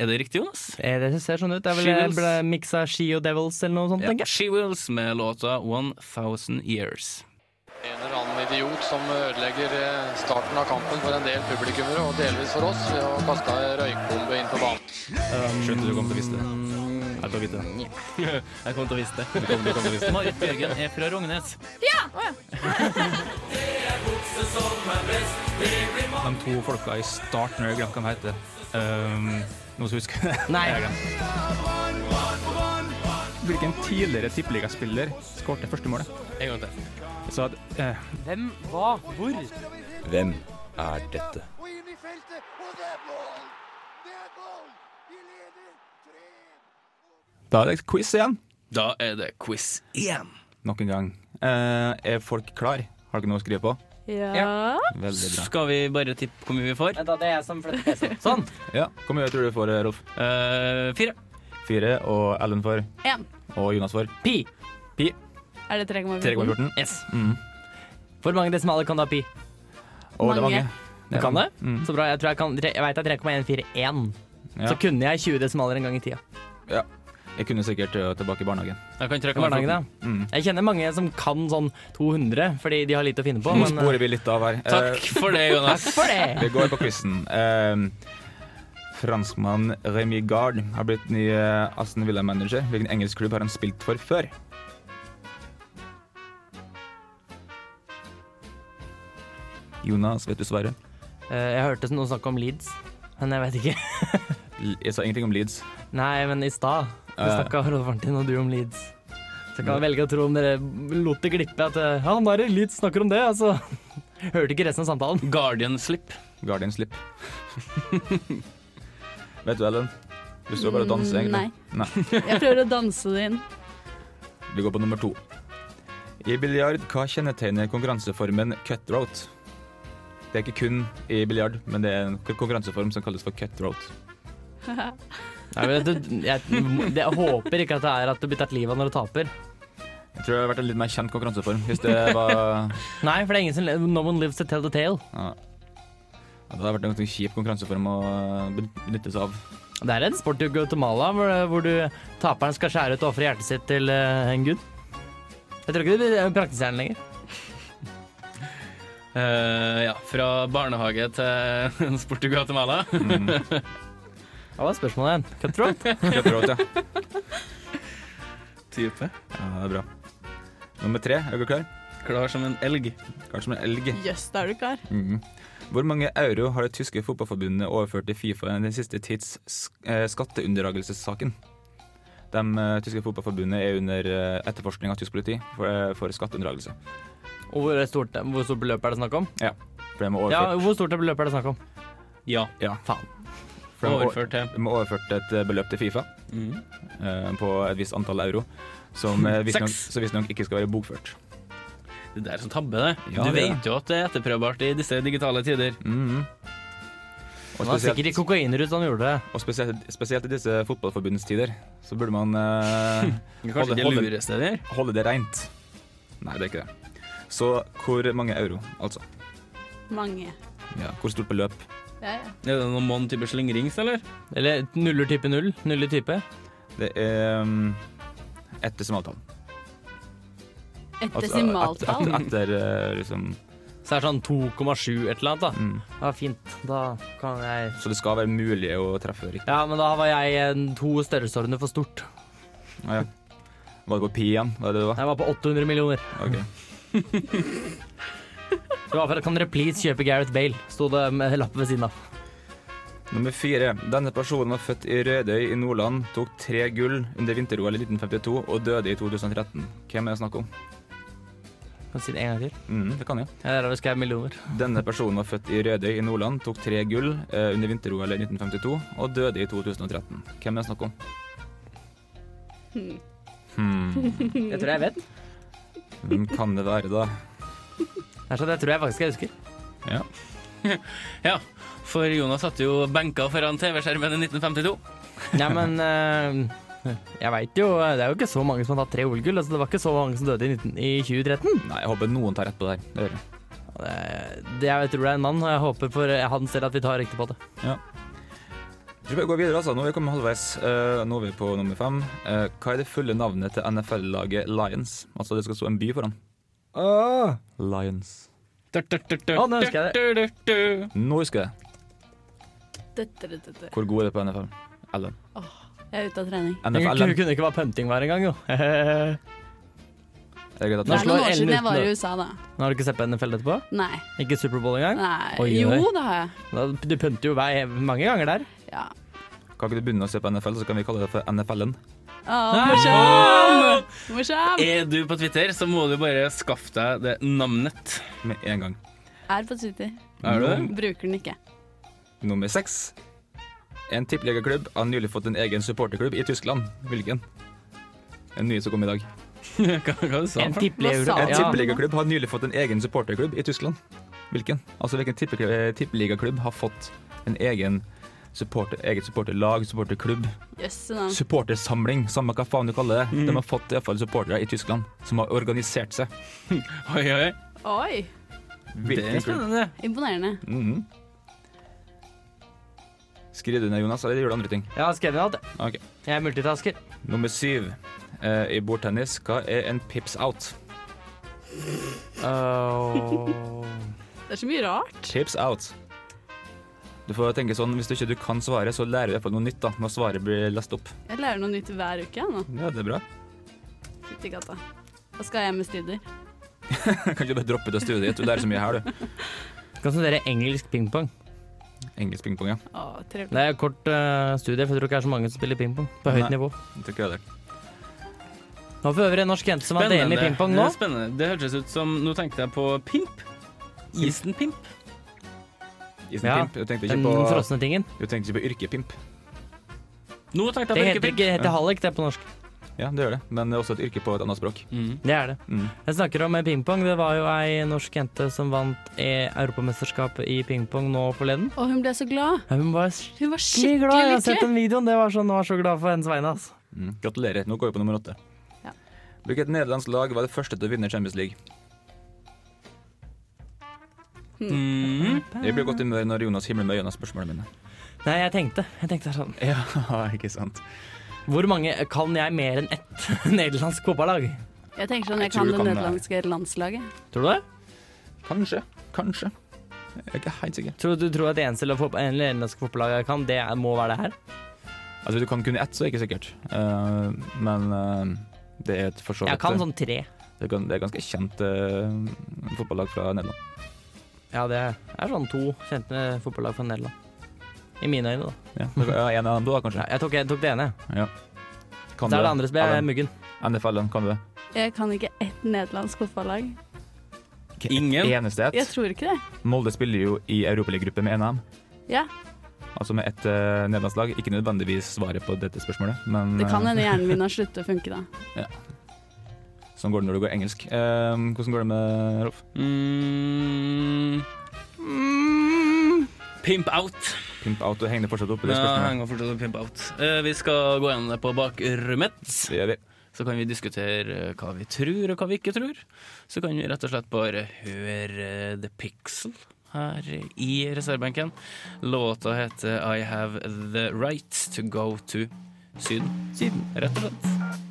[SPEAKER 4] Er det riktig, Jonas?
[SPEAKER 8] Eh, Det ser sånn ut. Det er
[SPEAKER 4] Shivels.
[SPEAKER 8] vel eh, mix av She og Devils eller noe sånt, tenker jeg.
[SPEAKER 4] Shewills med låta 1000 Years.
[SPEAKER 9] En eller annen idiot som ødelegger eh, starten av kampen for en del publikummere, og delvis for oss, ved å kaste ei røykbombe inn på banen.
[SPEAKER 6] Skjønte du kom til å vise det. Jeg kom til å vite det.
[SPEAKER 4] Jeg kom til å vise det. Marit Bjørgen er fra Rognes.
[SPEAKER 6] De to folka i starten, jeg glemte hva de heter. Um, noen som husker det?
[SPEAKER 8] Nei.
[SPEAKER 6] Jeg har glemt. Hvilken tidligere tippeligaspiller skåret det første målet?
[SPEAKER 4] En gang til.
[SPEAKER 6] Så at, eh,
[SPEAKER 8] Hvem, hva, hvor?
[SPEAKER 10] Hvem er dette?
[SPEAKER 2] Og inn i feltet, og det er mål! Det er mål! Vi leder 3
[SPEAKER 6] da er det quiz igjen.
[SPEAKER 4] Da er det quiz igjen.
[SPEAKER 6] Nok en gang. Eh, er folk klar? Har dere noe å skrive på?
[SPEAKER 5] Ja.
[SPEAKER 6] Veldig bra.
[SPEAKER 4] Skal vi bare tippe hvor mye vi får?
[SPEAKER 8] Vent, da, det er jeg som flytter PC-en. Sånn.
[SPEAKER 6] Ja, Hvor mye tror du du får, Rolf?
[SPEAKER 4] Eh, fire.
[SPEAKER 6] Fire. Og Ellen for?
[SPEAKER 5] En.
[SPEAKER 6] Og Jonas Mm. for?
[SPEAKER 8] Pi.
[SPEAKER 5] Er det 3,14?
[SPEAKER 6] 3,14.
[SPEAKER 8] Yes. Hvor mange desimaler kan du ha pi?
[SPEAKER 6] Og det er
[SPEAKER 5] Mange.
[SPEAKER 6] mange.
[SPEAKER 8] Du kan det?
[SPEAKER 6] Mm.
[SPEAKER 8] Så bra. Jeg tror jeg kan Jeg veit det er 3,141.
[SPEAKER 6] Ja.
[SPEAKER 8] Så kunne jeg 20 desimaler en gang i tida.
[SPEAKER 6] Jeg kunne sikkert eh, tilbake i barnehagen.
[SPEAKER 4] Jeg kan trekke meg
[SPEAKER 8] Barnehage, da.
[SPEAKER 6] Mm.
[SPEAKER 8] Jeg kjenner mange som kan sånn 200, fordi de har lite å finne på.
[SPEAKER 6] Nå
[SPEAKER 8] Men eh,
[SPEAKER 6] sporer vi litt av her. Eh,
[SPEAKER 4] Takk for det, Jonas.
[SPEAKER 8] for det!
[SPEAKER 6] Vi går på quizen. Eh, franskmann Remy Gard har blitt ny eh, Aston Villa-manager. Hvilken engelsk klubb har han spilt for før? Jonas, vet du svaret?
[SPEAKER 8] Eh, Jeg hørte noen snakke om Leeds, men jeg vet ikke.
[SPEAKER 6] L- Jeg sa ingenting om Leeds.
[SPEAKER 8] Nei, men i stad Du
[SPEAKER 6] Eh.
[SPEAKER 8] snakka Rolfaren din og du om Leeds. Så kan jeg velge å tro om dere lot det glippe at eh, Ja, han der i Leeds snakker om det, altså. Hørte ikke resten av samtalen.
[SPEAKER 4] Guardian Slip.
[SPEAKER 6] Guardian Slip. vet du, Ellen? Du står bare og danser,
[SPEAKER 5] Mm,
[SPEAKER 6] egentlig. Nei.
[SPEAKER 5] Jeg prøver å danse det inn.
[SPEAKER 6] Vi går på nummer to. I biljard, hva kjennetegner konkurranseformen cutthroat? Det er ikke kun i biljard, men det er en konkurranseform som kalles for cutthroat.
[SPEAKER 8] Jeg, vet, du, jeg, jeg håper ikke at det er at du blir tatt livet av når du taper.
[SPEAKER 6] Jeg tror det hadde vært en litt mer kjent konkurranseform hvis det var ja,
[SPEAKER 8] Nei, for det er ingen som le- No one lives to tell the tale.
[SPEAKER 6] Det hadde vært en ganske kjip konkurranseform å benytte seg av.
[SPEAKER 8] Det er en sport i Guatemala hvor, hvor du, taperen skal skjære ut og ofre hjertet sitt til eh, en gud. Jeg tror ikke det blir praktiserende lenger.
[SPEAKER 4] Eh, ja, fra barnehage til sport i Guatemala.
[SPEAKER 6] Mm.
[SPEAKER 8] Hva var spørsmålet igjen? Cutthroat?
[SPEAKER 6] Cutthroat, ja.
[SPEAKER 4] Type.
[SPEAKER 6] ja. Det er bra. Nummer tre, er du klar?
[SPEAKER 4] Klar som en elg.
[SPEAKER 6] Klar som en elg.
[SPEAKER 5] Jøss, da er du klar.
[SPEAKER 6] Mhm. Hvor mange euro har det tyske fotballforbundet overført til Fifa i den siste tids sk- eh, skatteunndragelsessaken? De eh, tyske fotballforbundet er under eh, etterforskning av tysk politi for, eh, for skatteunndragelse.
[SPEAKER 8] Og hvor stort, hvor stort beløp er det snakk om?
[SPEAKER 6] For de har
[SPEAKER 8] Ja,
[SPEAKER 6] overført
[SPEAKER 8] hvor stort beløp er det snakk om?
[SPEAKER 4] Ja.
[SPEAKER 6] Ja,
[SPEAKER 8] Faen.
[SPEAKER 6] For de har
[SPEAKER 4] Overført til
[SPEAKER 6] De har overført et eh, beløp til Fifa
[SPEAKER 4] mm.
[SPEAKER 6] eh, på et visst antall euro, som eh, visstnok
[SPEAKER 4] Seks.
[SPEAKER 6] som visstnok ikke skal være bokført.
[SPEAKER 4] Det der er som tabbe, det.
[SPEAKER 6] Ja,
[SPEAKER 4] du
[SPEAKER 6] det er
[SPEAKER 4] vet jo at det er etterprøvbart i disse digitale tider.
[SPEAKER 6] Mhm. Og
[SPEAKER 8] Han var sikkert i
[SPEAKER 6] spesielt,
[SPEAKER 8] kokainrus han gjorde det.
[SPEAKER 6] og spesielt, spesielt i disse fotballforbundstider, så burde man eh,
[SPEAKER 4] Det er
[SPEAKER 6] Holde-
[SPEAKER 4] kanskje ikke
[SPEAKER 6] holde-
[SPEAKER 4] det lureste der.
[SPEAKER 6] holde det rent. Nei, det er ikke det. Så hvor mange euro, altså?
[SPEAKER 5] Mange.
[SPEAKER 6] Ja. Hvor stort beløp?
[SPEAKER 5] Ja, ja.
[SPEAKER 4] Er det noen mann type slingrings, eller?
[SPEAKER 8] Eller nuller type null. Nuller type.
[SPEAKER 6] Det er um, ett desimaltall.
[SPEAKER 5] Et
[SPEAKER 6] Altså,
[SPEAKER 5] desimaltall.
[SPEAKER 6] et- et- Etter eh, liksom
[SPEAKER 8] Så er det sånn 2,7 et eller annet, da.
[SPEAKER 6] mm.
[SPEAKER 8] Ja, fint. Da kan jeg
[SPEAKER 6] Så det skal være mulig å treffe riktig.
[SPEAKER 8] Ja, men da var jeg eh, to størrelsesordener for stort.
[SPEAKER 6] Ah, ja. Var det på pi igjen? Var det det det var?
[SPEAKER 8] Jeg var på 800 millioner.
[SPEAKER 6] Ok.
[SPEAKER 8] Det var for at Kan dere please kjøpe Gareth Bale? Sto det med lapp ved siden av.
[SPEAKER 6] Nummer fire. Denne personen var født i Rødøy i Nordland, tok tre gull under vinter-OL i 1952 og døde i 2013. Hvem er det snakk om?
[SPEAKER 8] Kan si det en gang til.
[SPEAKER 6] Mm, det kan jeg.
[SPEAKER 8] Ja, der har vi skrevet millioner.
[SPEAKER 6] Denne personen var født i Rødøy i Nordland, tok tre gull eh, under vinter-OL i 1952 og døde i 2013. Hvem er det snakk om? Hmm.
[SPEAKER 8] Det tror jeg jeg vet.
[SPEAKER 6] Hvem kan det være, da?
[SPEAKER 8] Det er sånn, det tror jeg faktisk jeg husker.
[SPEAKER 6] Ja.
[SPEAKER 4] Ja, for Jonas satt jo benka foran TV-skjermen i 1952.
[SPEAKER 8] Nei, men eh, jeg veit jo Det er jo ikke så mange som har tatt tre OL-gull. Altså, det var ikke så mange som døde i, 19, i 2013.
[SPEAKER 6] Nei, jeg håper noen tar rett på det her. Det gjør jeg.
[SPEAKER 8] Og Det, det jeg tror det er en mann, og jeg håper for eh, han selv at vi tar riktig på det.
[SPEAKER 6] Jeg tror vi går videre, altså. Nå er vi kommet halvveis. Eh, nå er vi på nummer fem. Eh, hva er det fulle navnet til NFL-laget Lions? Altså, det skal stå en by foran. Lions.
[SPEAKER 8] Å, nå husker jeg det.
[SPEAKER 6] Nå husker jeg det.
[SPEAKER 5] Dette, dette, dette.
[SPEAKER 6] Hvor god er det på NFL? Ellen.
[SPEAKER 5] Jeg er ute av trening.
[SPEAKER 8] Hun
[SPEAKER 6] NFL,
[SPEAKER 8] kunne ikke hva punting var engang, jo.
[SPEAKER 6] Det er
[SPEAKER 8] Nå
[SPEAKER 6] greit at
[SPEAKER 5] Det
[SPEAKER 8] Nå
[SPEAKER 5] er
[SPEAKER 8] slår
[SPEAKER 5] noen år
[SPEAKER 8] Ellen
[SPEAKER 5] siden jeg var i
[SPEAKER 8] utenfor.
[SPEAKER 5] USA, da.
[SPEAKER 8] har du ikke sett på NFL etterpå?
[SPEAKER 5] Nei.
[SPEAKER 8] Ikke Superbowl engang?
[SPEAKER 5] Nei.
[SPEAKER 8] Oi, oi.
[SPEAKER 5] Jo, det har jeg.
[SPEAKER 8] Da- Du pønter jo vei mange ganger der.
[SPEAKER 5] Ja.
[SPEAKER 6] Kan ikke du begynne å se på NFL, så kan vi kalle det for NFL-en?
[SPEAKER 5] Å, morsom! Morsom!
[SPEAKER 8] Eh.
[SPEAKER 4] Er du på Twitter, så må du bare skaffe deg det navnet.
[SPEAKER 6] Med en gang.
[SPEAKER 5] Er på Twitter.
[SPEAKER 4] Er du det?
[SPEAKER 5] Bruker den ikke.
[SPEAKER 6] Nummer seks. En tippeliggeklubb har nylig fått en egen supporterklubb i Tyskland. Hvilken? En ny som kom i dag.
[SPEAKER 4] Hva, hva du sa
[SPEAKER 8] En
[SPEAKER 4] du?
[SPEAKER 8] tippelever.
[SPEAKER 4] Ah,
[SPEAKER 5] Hva sa
[SPEAKER 6] En
[SPEAKER 5] du?
[SPEAKER 8] Ja.
[SPEAKER 6] tippeliggaklubb har nylig fått en egen supporterklubb i Tyskland. Hvilken? Altså hvilken tippeklubb- eh, tippeligaklubb har fått en egen supporter, eget supporterlag, supporterklubb,
[SPEAKER 5] Jøsse navn.
[SPEAKER 6] supportersamling, samme hva faen du kaller det.
[SPEAKER 4] Mm.
[SPEAKER 6] De har fått iallfall supportere i Tyskland som har organisert seg.
[SPEAKER 4] Oi, oi.
[SPEAKER 5] Oi,
[SPEAKER 4] Det
[SPEAKER 6] Hvilken
[SPEAKER 4] er
[SPEAKER 6] klubb?
[SPEAKER 4] spennende.
[SPEAKER 5] imponerende.
[SPEAKER 6] Mhm. Skriv det ned, Jonas, eller gjør du andre ting?
[SPEAKER 8] Jeg har skrevet alt. jeg.
[SPEAKER 6] Ok.
[SPEAKER 8] Jeg er multitasker.
[SPEAKER 6] Nummer syv eh, i bordtennis. Hva er en pips out?
[SPEAKER 8] Åh.
[SPEAKER 5] Det er så mye rart.
[SPEAKER 6] Pips out. Du får tenke sånn, Hvis du ikke du kan svaret, så lærer du i hvert fall noe nytt da, når svaret blir lest opp.
[SPEAKER 5] Jeg lærer noe nytt hver uke jeg, nå.
[SPEAKER 6] Ja, det er bra.
[SPEAKER 5] Fytti katta. Da skal jeg med studier.
[SPEAKER 6] Kan ikke du bare droppe det studiet ditt? Du lærer så mye her, du.
[SPEAKER 8] Kan studere engelsk pingpong.
[SPEAKER 6] Engelsk pingpong, ja.
[SPEAKER 5] Å, trevlig.
[SPEAKER 8] Det er et kort eh, studie, for jeg tror ikke det er så mange som spiller pingpong på høyt
[SPEAKER 6] Nei.
[SPEAKER 8] nivå.
[SPEAKER 6] Jeg tror ikke det er det.
[SPEAKER 8] Det var for øvrig en norsk jente som var DM i pingpong
[SPEAKER 4] Det
[SPEAKER 8] nå.
[SPEAKER 4] er spennende. Det hørtes ut som Nå tenkte jeg på pimp. Isen pimp.
[SPEAKER 6] Isen
[SPEAKER 8] Ja,
[SPEAKER 6] pimp. Du tenkte ikke
[SPEAKER 8] Den
[SPEAKER 6] på,
[SPEAKER 8] frosne tingen.
[SPEAKER 6] du tenkte ikke på yrkepimp.
[SPEAKER 4] Nå tenkte jeg på
[SPEAKER 8] Det heter,
[SPEAKER 4] ikke pimp.
[SPEAKER 8] ikke, heter hallik, det er på norsk.
[SPEAKER 6] Ja, det gjør det. Men det er også et yrke på et annet språk.
[SPEAKER 4] Mm.
[SPEAKER 8] Det er det.
[SPEAKER 6] Mm.
[SPEAKER 8] Jeg snakker om eh, pingpong. Det var jo ei norsk jente som vant eh, europamesterskapet i pingpong nå forleden.
[SPEAKER 5] Å, hun ble så glad.
[SPEAKER 8] Ja, Hun var skikkelig
[SPEAKER 5] Hun var
[SPEAKER 8] glad. Jeg har
[SPEAKER 5] skikkelig
[SPEAKER 8] sett
[SPEAKER 5] lykkelig.
[SPEAKER 8] den videoen. Det var sånn, hun var så glad for hennes vegne. Altså.
[SPEAKER 6] Mm. Gratulerer. Nå går vi på nummer åtte.
[SPEAKER 5] Ja.
[SPEAKER 6] Hvilket nederlandsk lag var det første til å vinne Champions League?
[SPEAKER 4] Mm.
[SPEAKER 6] Jeg blir i godt humør når Jonas himler med øynene av spørsmålene mine.
[SPEAKER 8] Nei, jeg tenkte, jeg tenkte sånn
[SPEAKER 6] Ja, ikke sant.
[SPEAKER 8] Hvor mange kan jeg mer enn ett nederlandsk fotballag?
[SPEAKER 5] Jeg tenker sånn,
[SPEAKER 6] Jeg
[SPEAKER 5] jeg
[SPEAKER 6] tror du
[SPEAKER 5] kan det
[SPEAKER 6] kan det.
[SPEAKER 5] nederlandske landslaget.
[SPEAKER 8] Tror du det?
[SPEAKER 6] Kanskje. Kanskje. Jeg er ikke helt sikker.
[SPEAKER 8] Tror du tror at det eneste fotball- en nederlandsk fotballag jeg kan, det er- må være det her?
[SPEAKER 6] Altså, hvis du kan kun ett, så er det ikke sikkert. Eh, men eh, det er et for så
[SPEAKER 8] Jeg
[SPEAKER 6] vidt
[SPEAKER 8] kan sånn tre.
[SPEAKER 6] det, er gan- det er ganske kjent eh, fotballag fra Nederland.
[SPEAKER 8] Ja, det er sånn to kjente fotballag fra Nederland. I mine øyne, da.
[SPEAKER 6] Ja, men, ja, en av dem, da, kanskje.
[SPEAKER 8] Ja, Jeg tok, jeg tok det ene.
[SPEAKER 6] Kan
[SPEAKER 8] Så er
[SPEAKER 6] du
[SPEAKER 8] det andre som er muggen.
[SPEAKER 6] NFL-en, kan du det?
[SPEAKER 5] Jeg kan ikke ett nederlandsk fotballag.
[SPEAKER 4] Ingen.
[SPEAKER 6] Eneste ett.
[SPEAKER 5] Jeg tror ikke det.
[SPEAKER 6] Molde spiller jo i Europaliggruppe med NM.
[SPEAKER 5] Ja.
[SPEAKER 6] altså med ett eh, nederlandslag. Ikke nødvendigvis svaret på dette spørsmålet, men
[SPEAKER 5] Det kan
[SPEAKER 6] eh,
[SPEAKER 5] hende hjernen min har sluttet å funke da.
[SPEAKER 6] sånn går det når du går engelsk. Eh, hvordan går det med Rolf?
[SPEAKER 4] Mm. Mm. Pimp out.
[SPEAKER 6] Pimp out, og henger det fortsatt oppe i det
[SPEAKER 4] Ja,
[SPEAKER 6] spørsmålet?
[SPEAKER 4] henger fortsatt på pimp out. Eh, vi skal gå gjennom det på bakrommet.
[SPEAKER 6] Det gjør vi.
[SPEAKER 4] Så kan vi diskutere eh, hva vi tror, og hva vi ikke tror. Så kan vi rett og slett bare høre eh, The Pixel her i reservebenken. Låta heter I Have The Right To Go To Syden. Syden, rett og slett.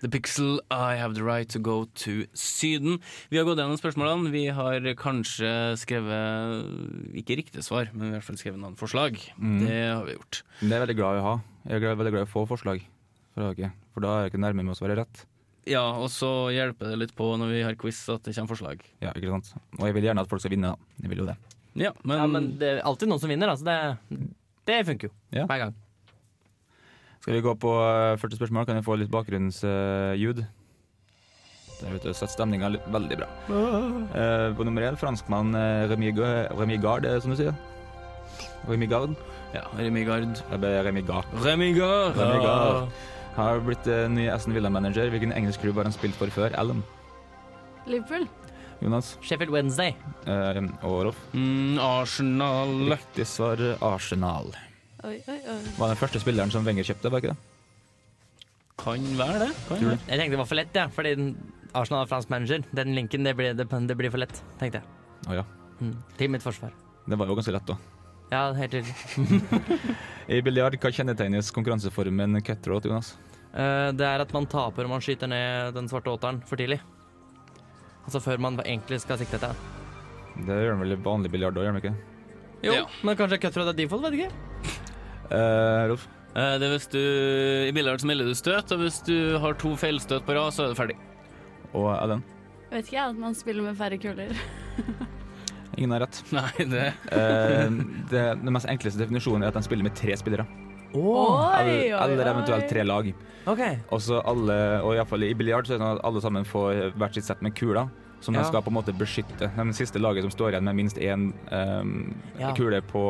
[SPEAKER 4] The Pixel, I have the right to go to Syden. Vi har gått gjennom spørsmålene. Vi har kanskje skrevet ikke riktige svar, men vi har i hvert fall skrevet noen forslag. Det har vi gjort.
[SPEAKER 6] Det er jeg veldig glad i å ha. Jeg er glad, veldig glad i å få forslag fra dere, for da er jeg ikke nærme med å svare rett.
[SPEAKER 4] Ja, og så hjelper det litt på når vi har quiz at det kommer forslag.
[SPEAKER 6] Ja, ikke sant? Og jeg vil gjerne at folk skal vinne, da. Jeg vil jo det.
[SPEAKER 4] Ja, men,
[SPEAKER 8] Ja, men det er alltid noen som vinner, altså. Det, det funker jo
[SPEAKER 6] Ja.
[SPEAKER 8] hver gang.
[SPEAKER 6] Skal vi gå på eh, første spørsmål? Kan jeg få litt bakgrunnsljud? Der ute setter stemninga veldig bra. Eh, på nummer én, franskmann eh, Remy Ga- Remy Gard, eh, som du sier. Remy Gard.
[SPEAKER 4] ja, Remi Gard.
[SPEAKER 6] Jeg ble Remy Gard.
[SPEAKER 4] Remi Gard!
[SPEAKER 6] Remy Gard. Har blitt eh, ny Aston Villa-manager. Hvilken engelsk klubb har han spilt for før? Allen.
[SPEAKER 5] Liverpool.
[SPEAKER 6] Jonas.
[SPEAKER 8] Sheffield Wednesday.
[SPEAKER 6] Eh, og Rolf.
[SPEAKER 4] Mm, Arsenal.
[SPEAKER 6] Riktig svar eh, Arsenal.
[SPEAKER 5] Oi, oi, oi.
[SPEAKER 6] Var den første spilleren som Wenger kjøpte, var ikke det?
[SPEAKER 4] Kan være det. Kan
[SPEAKER 6] Tror
[SPEAKER 4] være.
[SPEAKER 6] du?
[SPEAKER 8] Jeg tenkte det var for lett, ja, fordi den- Arsenal har fransk manager. Den linken det blir, det, det blir for lett, tenkte jeg.
[SPEAKER 6] Å ja.
[SPEAKER 8] Mm. Til mitt forsvar.
[SPEAKER 6] Det var jo ganske lett, da.
[SPEAKER 8] Ja, helt tydelig.
[SPEAKER 6] I biljard, hva kjennetegnes konkurranseformen cutthroat, Jonas?
[SPEAKER 8] Eh, det er at man taper om man skyter ned den svarte återen for tidlig. Altså før man egentlig skal sikte etter. den.
[SPEAKER 6] Det gjør han vel i vanlig biljard òg, gjør han ikke? det?
[SPEAKER 8] Jo,
[SPEAKER 4] Ja.
[SPEAKER 8] men kanskje cutthroat er default, vet ikke.
[SPEAKER 6] Eh, Rolf?
[SPEAKER 4] Eh, Det er hvis du I billiard så melder du støt, og hvis du har to feilstøt på rad, så er det ferdig.
[SPEAKER 6] Og Ellen?
[SPEAKER 5] Vet ikke jeg at man spiller med færre kuler.
[SPEAKER 6] Ingen har rett.
[SPEAKER 4] Nei, det
[SPEAKER 6] Eh, det, den mest enkleste definisjonen er at de spiller med tre spillere.
[SPEAKER 5] Oi, oi,
[SPEAKER 6] Eller, eller eventuelt
[SPEAKER 5] oi.
[SPEAKER 6] tre lag.
[SPEAKER 8] OK.
[SPEAKER 6] Og så alle, og i, hvert fall i biljard så er det sånn at alle sammen får hvert sitt sett med kuler. Som
[SPEAKER 8] Ja.
[SPEAKER 6] de skal på en måte beskytte. Det siste laget som står igjen med minst én eh,
[SPEAKER 8] Ja.
[SPEAKER 6] kule på,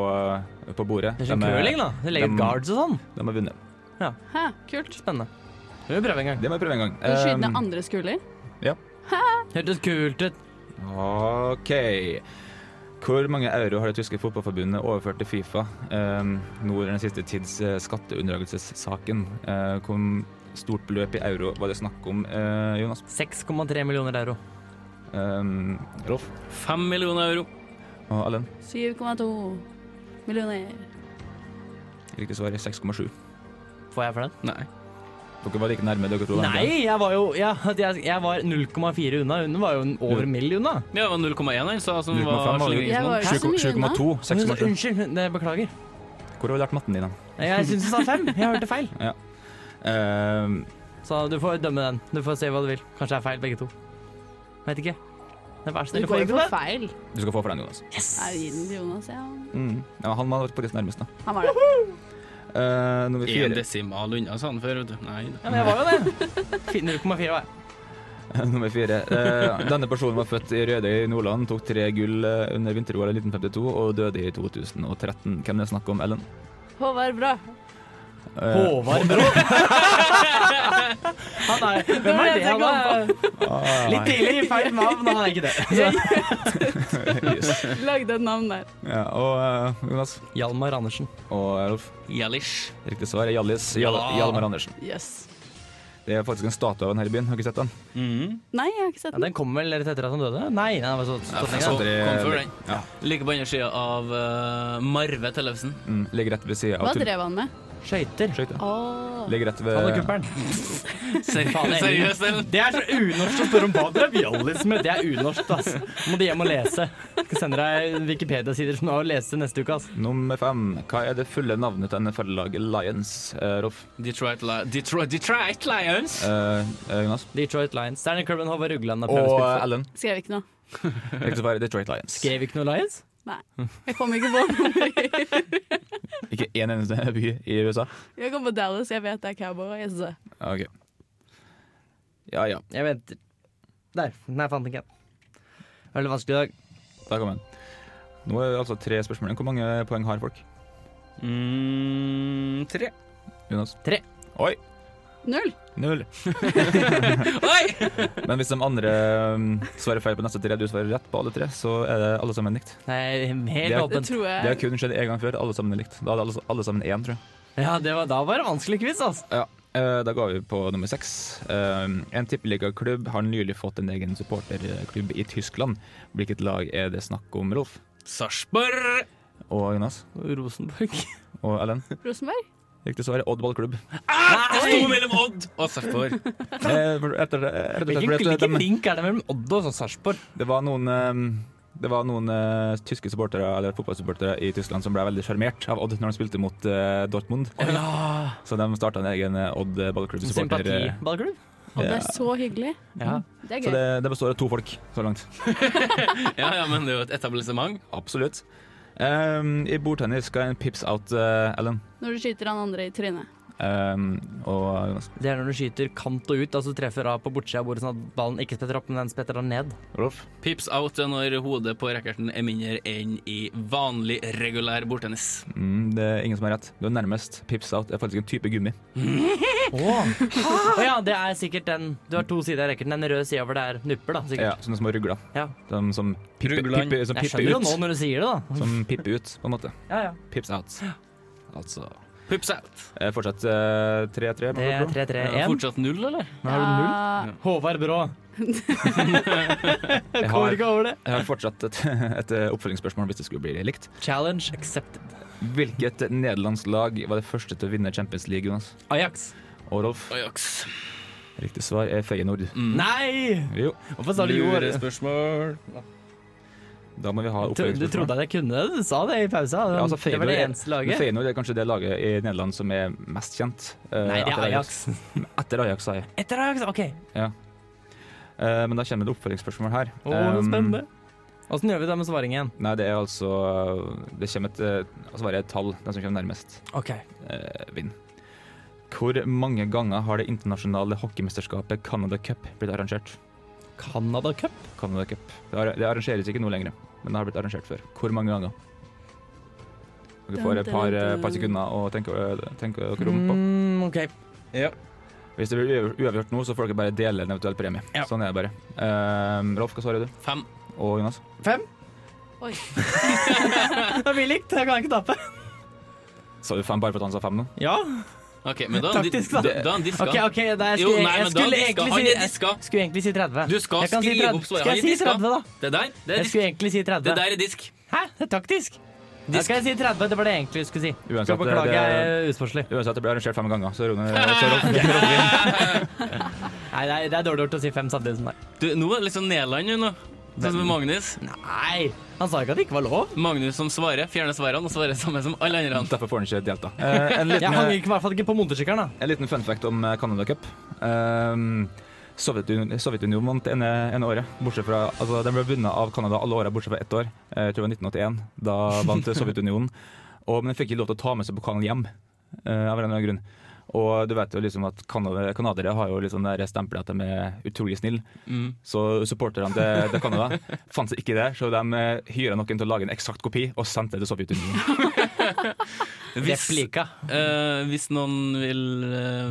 [SPEAKER 6] på bordet,
[SPEAKER 8] Det er som
[SPEAKER 6] de er-
[SPEAKER 8] curling, da. Du legger
[SPEAKER 6] dem-
[SPEAKER 8] ut guards og sånn.
[SPEAKER 6] de har vunnet.
[SPEAKER 5] Hæ, kult.
[SPEAKER 8] Spennende. Vi må prøve en gang.
[SPEAKER 6] Det må jeg prøve en gang.
[SPEAKER 5] Du skyter ned
[SPEAKER 6] Eh,
[SPEAKER 5] andres kuler.
[SPEAKER 8] Hørtes kult ut.
[SPEAKER 6] OK. Hvor mange euro har det tyske fotballforbundet overført til Fifa eh, nå under den siste tids eh, skatteunndragelsessaken? Eh, hvor stort beløp i euro var det snakk om, eh, Jonas?
[SPEAKER 8] 6,3 millioner euro.
[SPEAKER 6] Eh, Rolf
[SPEAKER 4] Fem millioner euro.
[SPEAKER 6] og Ellen?
[SPEAKER 5] 7,2 millioner.
[SPEAKER 6] Riktig svar er 6,7.
[SPEAKER 8] Får jeg for den?
[SPEAKER 4] Nei.
[SPEAKER 6] Dere var like nærme, dere to. var dere?
[SPEAKER 8] Nei, jeg var jo ja, at jeg, jeg var 0,4 unna. Hun var jo en over mill. unna.
[SPEAKER 4] Ja, det var 0,1 han sa, som
[SPEAKER 6] 0,5
[SPEAKER 4] var
[SPEAKER 6] var det.
[SPEAKER 5] Jeg var
[SPEAKER 4] slingringsmonn.
[SPEAKER 5] jo ikke så mye unna.
[SPEAKER 6] 7,2.
[SPEAKER 8] Hun sa-
[SPEAKER 6] 6,7.
[SPEAKER 8] Unnskyld, hun- det beklager.
[SPEAKER 6] Hvor har du lært matten din, da?
[SPEAKER 8] Jeg syns hun sa fem. Jeg hørte feil.
[SPEAKER 6] Eh,
[SPEAKER 8] Så du får dømme den. Du får se hva du vil. Kanskje det er feil, begge to. Vet ikke. Det er vær
[SPEAKER 5] Du
[SPEAKER 8] så snill.
[SPEAKER 5] går
[SPEAKER 8] får
[SPEAKER 5] jo
[SPEAKER 8] ikke
[SPEAKER 5] for
[SPEAKER 8] det.
[SPEAKER 5] feil.
[SPEAKER 6] du skal få for den, Jonas.
[SPEAKER 5] Nei, gi den til Jonas, ja.
[SPEAKER 6] Mm. Ja, han var faktisk nærmest, da.
[SPEAKER 5] Han var det.
[SPEAKER 6] Eh, nummer
[SPEAKER 4] En
[SPEAKER 6] fire.
[SPEAKER 4] desimal unna, sa han før. vet du. Nei da.
[SPEAKER 8] Ja, men jeg var jo det. 0,4 var jeg.
[SPEAKER 6] nummer fire. Eh, denne personen var født i Rødøy i Nordland, tok tre gull eh, under vinter-OL i 1952 og døde i 2013. Hvem er det snakk om, Ellen?
[SPEAKER 5] Håvard Bra.
[SPEAKER 6] Eh,
[SPEAKER 8] Håvard Bro. Han er, hvem er det? Han er
[SPEAKER 6] ah,
[SPEAKER 8] litt tidlig, feil navn. Han er ikke det.
[SPEAKER 6] yes.
[SPEAKER 5] Lagde et navn der.
[SPEAKER 6] ja, og eh, Jonas
[SPEAKER 8] Hjalmar Andersen.
[SPEAKER 6] og eh, Rolf.
[SPEAKER 4] Jalish.
[SPEAKER 6] Riktig svar er Hjallis. Hjal
[SPEAKER 4] Ja.
[SPEAKER 6] Hjalmar Andersen.
[SPEAKER 5] Yes.
[SPEAKER 6] Det er faktisk en statue av han her i byen. Har du ikke sett den?
[SPEAKER 5] Nei, jeg har ikke sett
[SPEAKER 8] Ja, den kom vel rett etter at han døde? Nei, den var så, så,
[SPEAKER 4] Kom
[SPEAKER 8] så,
[SPEAKER 4] kom før den.
[SPEAKER 6] Ja.
[SPEAKER 4] Like på andre sida av eh, Marve Tellefsen.
[SPEAKER 6] Mm, ligger rett ved sida
[SPEAKER 5] Hva
[SPEAKER 6] av tull-
[SPEAKER 5] drev han med?
[SPEAKER 8] skøyter.
[SPEAKER 6] Skøyte.
[SPEAKER 5] Åh.
[SPEAKER 6] Ligger rett
[SPEAKER 8] Han og
[SPEAKER 6] ved
[SPEAKER 8] kuppelen. Faen, jeg-
[SPEAKER 4] Seriøst, Ellen?
[SPEAKER 8] Det er så unorsk å spørre om hva drev Hjallis med. Det er unorsk, ass. Må du hjem og lese. Skal sende deg Wikipedia-sider som du har å lese neste uke, ass.
[SPEAKER 6] Nummer fem. Hva er det fulle navnet til NFL-laget Lions, eh, Rolf?
[SPEAKER 4] Detroit, Li Detroit, Detroit Lions.
[SPEAKER 6] Eh, eh, Jonas?
[SPEAKER 8] Detroit Lions. Sterner Curban Håvard Rugland har prøvd å
[SPEAKER 6] Og eh,
[SPEAKER 8] spille for.
[SPEAKER 6] Ellen.
[SPEAKER 5] Skrev ikke noe.
[SPEAKER 6] Riktig svar er Detroit Lions.
[SPEAKER 8] Skrev ikke noe Lions?
[SPEAKER 5] Nei. Jeg kom ikke på noe.
[SPEAKER 6] Ikke én eneste by i USA.
[SPEAKER 5] Jeg kom på Dallas, jeg vet det er cowboy. Jeg synes det.
[SPEAKER 6] Ok. Ja ja.
[SPEAKER 8] Jeg venter. Der. Nei, jeg fant den ikke. Veldig vanskelig i dag.
[SPEAKER 6] Der kom den. Nå er det altså tre spørsmål. Hvor mange poeng har folk?
[SPEAKER 4] Mm, tre.
[SPEAKER 6] Jonas?
[SPEAKER 8] Tre.
[SPEAKER 6] Oi!
[SPEAKER 5] Null.
[SPEAKER 6] Null.
[SPEAKER 4] Oi!
[SPEAKER 6] Men hvis de andre um, svarer feil på neste tre, du svarer rett på alle tre, så er det alle sammen likt.
[SPEAKER 8] Det er
[SPEAKER 6] Det er-
[SPEAKER 8] helt
[SPEAKER 5] Det
[SPEAKER 8] åpent.
[SPEAKER 5] tror
[SPEAKER 6] Det har
[SPEAKER 5] jeg.
[SPEAKER 6] kun skjedd én gang før. Alle sammen er likt. Da hadde alle, alle sammen én, tror jeg.
[SPEAKER 8] Ja, det var, da var det vanskelig quiz, altså.
[SPEAKER 6] Eh, Da går vi på nummer seks. Eh, En tippeligaklubb har nylig fått en egen supporterklubb i Tyskland. Hvilket lag er det snakk om, Rolf?
[SPEAKER 4] Sarpsborg!
[SPEAKER 6] Og Jonas?
[SPEAKER 8] Rosenborg.
[SPEAKER 6] Og Ellen?
[SPEAKER 5] Rosenberg?
[SPEAKER 6] Riktig svar er Odd ballklubb.
[SPEAKER 4] Det sto mellom Odd og Ah, Sarpsborg.
[SPEAKER 6] Eh, for- etter- rett og slett
[SPEAKER 8] Hvilken,
[SPEAKER 6] fordi at
[SPEAKER 8] hvilken
[SPEAKER 6] de-
[SPEAKER 8] link er det mellom Odd og sånn Sarpsborg?
[SPEAKER 6] Det var noen eh, det var noen eh, tyske supportere eller fotballsupportere i Tyskland som ble veldig sjarmert av Odd når de spilte mot eh, Dortmund. Så de starta en egen eh, Odd ballklubb-supporter. eh,
[SPEAKER 8] Sympatiballklubb?
[SPEAKER 5] Å, det er så hyggelig.
[SPEAKER 8] Ja.
[SPEAKER 5] Det er
[SPEAKER 6] Så
[SPEAKER 5] gøy.
[SPEAKER 6] det, det består av to folk så langt.
[SPEAKER 4] Ja, ja, men det er jo et etablissement.
[SPEAKER 6] Absolutt. Ehm, I bordtennis skal en pips out, eh, Ellen.
[SPEAKER 5] Når du skyter han andre i trynet.
[SPEAKER 6] Ehm, og Jonas.
[SPEAKER 8] Det er når du skyter kant og ut, altså treffer av på bortsida av bordet sånn at ballen ikke spetter opp, men den spetter av ned.
[SPEAKER 6] Rolf.
[SPEAKER 4] Pips out er når hodet på rackerten er mindre enn i vanlig, regulær bordtennis.
[SPEAKER 6] Mm, det er ingen som har rett. Du er nærmest. Pips out er faktisk en type gummi.
[SPEAKER 8] Åh. Å ja, det er sikkert den Du har to sider av racketen. Den røde sida hvor det er nupper, da.
[SPEAKER 6] Ja, sånn
[SPEAKER 8] sikkert.
[SPEAKER 6] sånne små rugler.
[SPEAKER 8] Ja.
[SPEAKER 6] Som, som pipper
[SPEAKER 4] Ruglene.
[SPEAKER 6] pipper- som
[SPEAKER 8] Jeg
[SPEAKER 6] pipper
[SPEAKER 8] skjønner jo nå
[SPEAKER 6] ut.
[SPEAKER 8] når du sier det, da.
[SPEAKER 6] Som pipper ut, på en måte.
[SPEAKER 8] Ja, ja.
[SPEAKER 6] Pips out. Altså
[SPEAKER 4] Pips out.
[SPEAKER 6] eh, Fortsatt eh, 3-3.
[SPEAKER 8] Det er
[SPEAKER 6] Rolf.
[SPEAKER 4] Eh,
[SPEAKER 8] 3-3-1.
[SPEAKER 4] Fortsatt null, eller?
[SPEAKER 5] Ja,
[SPEAKER 8] Håvard Brå. Jeg
[SPEAKER 6] Jeg
[SPEAKER 8] kommer
[SPEAKER 6] har,
[SPEAKER 8] ikke over det.
[SPEAKER 6] jeg har fortsatt et, et eh, oppfølgingsspørsmål hvis det skulle bli likt.
[SPEAKER 8] Challenge accepted.
[SPEAKER 6] Hvilket nederlandsk lag var det første til å vinne Champions League, Jonas?
[SPEAKER 8] Ajax.
[SPEAKER 6] Og Rolf?
[SPEAKER 4] Ajax.
[SPEAKER 6] Riktig svar er Feyenoord.
[SPEAKER 8] Mm. Nei!
[SPEAKER 6] Jo,
[SPEAKER 8] Hvorfor sa du jo?
[SPEAKER 4] spørsmål.
[SPEAKER 6] da må vi ha
[SPEAKER 8] Du, du trodde
[SPEAKER 6] oppfølgingsspørsmål.
[SPEAKER 8] at jeg kunne det? Du sa det i pausa.
[SPEAKER 6] Ja, altså,
[SPEAKER 8] det var det
[SPEAKER 6] Feyenoord er-
[SPEAKER 8] eneste
[SPEAKER 6] Men
[SPEAKER 8] laget.
[SPEAKER 6] Feyenoord er kanskje det laget i Nederland som er mest kjent. eh,
[SPEAKER 8] Nei, det
[SPEAKER 6] etter
[SPEAKER 8] er Ajax.
[SPEAKER 6] Etter Ajax, sa jeg.
[SPEAKER 8] Etter Ajax, OK.
[SPEAKER 6] Eh, men da kommer det et oppfølgingsspørsmål her.
[SPEAKER 8] Å,
[SPEAKER 6] Um,
[SPEAKER 8] spennende. Åssen gjør vi det med svaringen?
[SPEAKER 6] Nei, det er altså Det kommer et eh, svaret er et tall. Den som kommer nærmest.
[SPEAKER 8] OK.
[SPEAKER 6] eh, vinn. Hvor mange ganger har det internasjonale hockeymesterskapet Canada Cup blitt arrangert?
[SPEAKER 8] Canada Cup?
[SPEAKER 6] Canada Cup. Det, ar det arrangeres ikke nå lenger, men det har blitt arrangert før. Hvor mange ganger? Dere får et par, eh, par sekunder å tenke, eh, tenke dere om på.
[SPEAKER 8] Mm, OK.
[SPEAKER 6] Hvis det blir uav- uavgjort nå, så får dere bare dele en eventuell premie.
[SPEAKER 8] Ja.
[SPEAKER 6] Sånn er det bare. Eh, Rolf, hva svarer du?
[SPEAKER 4] Fem.
[SPEAKER 6] Og Jonas?
[SPEAKER 8] Det blir likt. Jeg kan ikke tape.
[SPEAKER 6] Sa du fem bare fordi han sa fem nå?
[SPEAKER 8] Ja.
[SPEAKER 4] Ok, men da er han di-
[SPEAKER 8] Taktisk, da.
[SPEAKER 4] da- da er han diska.
[SPEAKER 8] OK, OK. Da jeg
[SPEAKER 4] Jo,
[SPEAKER 8] skulle,
[SPEAKER 4] nei,
[SPEAKER 8] jeg
[SPEAKER 4] men da
[SPEAKER 8] skulle
[SPEAKER 4] diska.
[SPEAKER 8] egentlig
[SPEAKER 4] Han
[SPEAKER 8] si
[SPEAKER 4] er diska.
[SPEAKER 8] jeg Skulle egentlig si 30.
[SPEAKER 4] Du skal
[SPEAKER 8] Jeg kan si
[SPEAKER 4] skrive
[SPEAKER 8] 30.
[SPEAKER 4] opp svaret.
[SPEAKER 8] Skal jeg
[SPEAKER 4] Han er
[SPEAKER 8] si
[SPEAKER 4] diska.
[SPEAKER 8] 30, da?
[SPEAKER 4] Det der, det er
[SPEAKER 8] Jeg
[SPEAKER 4] disk.
[SPEAKER 8] skulle egentlig si
[SPEAKER 4] Det
[SPEAKER 8] 30.
[SPEAKER 4] der er disk.
[SPEAKER 8] Hæ? Det er taktisk. Da skal jeg si 30. Det var det jeg egentlig skulle si.
[SPEAKER 6] Uansett,
[SPEAKER 8] Skal beklage,
[SPEAKER 6] det-
[SPEAKER 8] jeg er usportslig.
[SPEAKER 6] Uansett, det ble arrangert fem ganger, så Rune så Rolf.
[SPEAKER 8] Nei, det er, det er dårlig gjort å si fem samtidig som deg.
[SPEAKER 4] Du, nå er det litt sånn Nederland, jo, nå. Sånn som Magnus.
[SPEAKER 8] Nei! Han sa ikke at det ikke var lov.
[SPEAKER 4] Magnus som svarer, fjerner svarene og svarer samme som alle andre.
[SPEAKER 6] Derfor får han ikke delta. Eh, en liten,
[SPEAKER 8] Jeg hang ikke, i hvert fall ikke på motorsykkelen, da.
[SPEAKER 6] En liten fun fact om eh, Canada Cup. Um, Sovjetun Sovjetunionen vant ene, ene året. Bortsett fra, altså, den ble vunnet av Canada alle åra bortsett fra ett år. Eh, Jeg tror det var 1981. Da vant Sovjetunionen. Og, men den fikk ikke lov til å ta med seg pokalen hjem. eh, av en eller annen grunn. Og du vet jo liksom at Canada- Canadiere har jo liksom det stempelet at de er utrolig snille.
[SPEAKER 4] Mm.
[SPEAKER 6] Så supporterne til, til Canada fant seg ikke det, så de eh, hyra noen til å lage en eksakt kopi og sendte det til Sovjetunionen.
[SPEAKER 8] Replika.
[SPEAKER 4] Eh, hvis noen vil eh,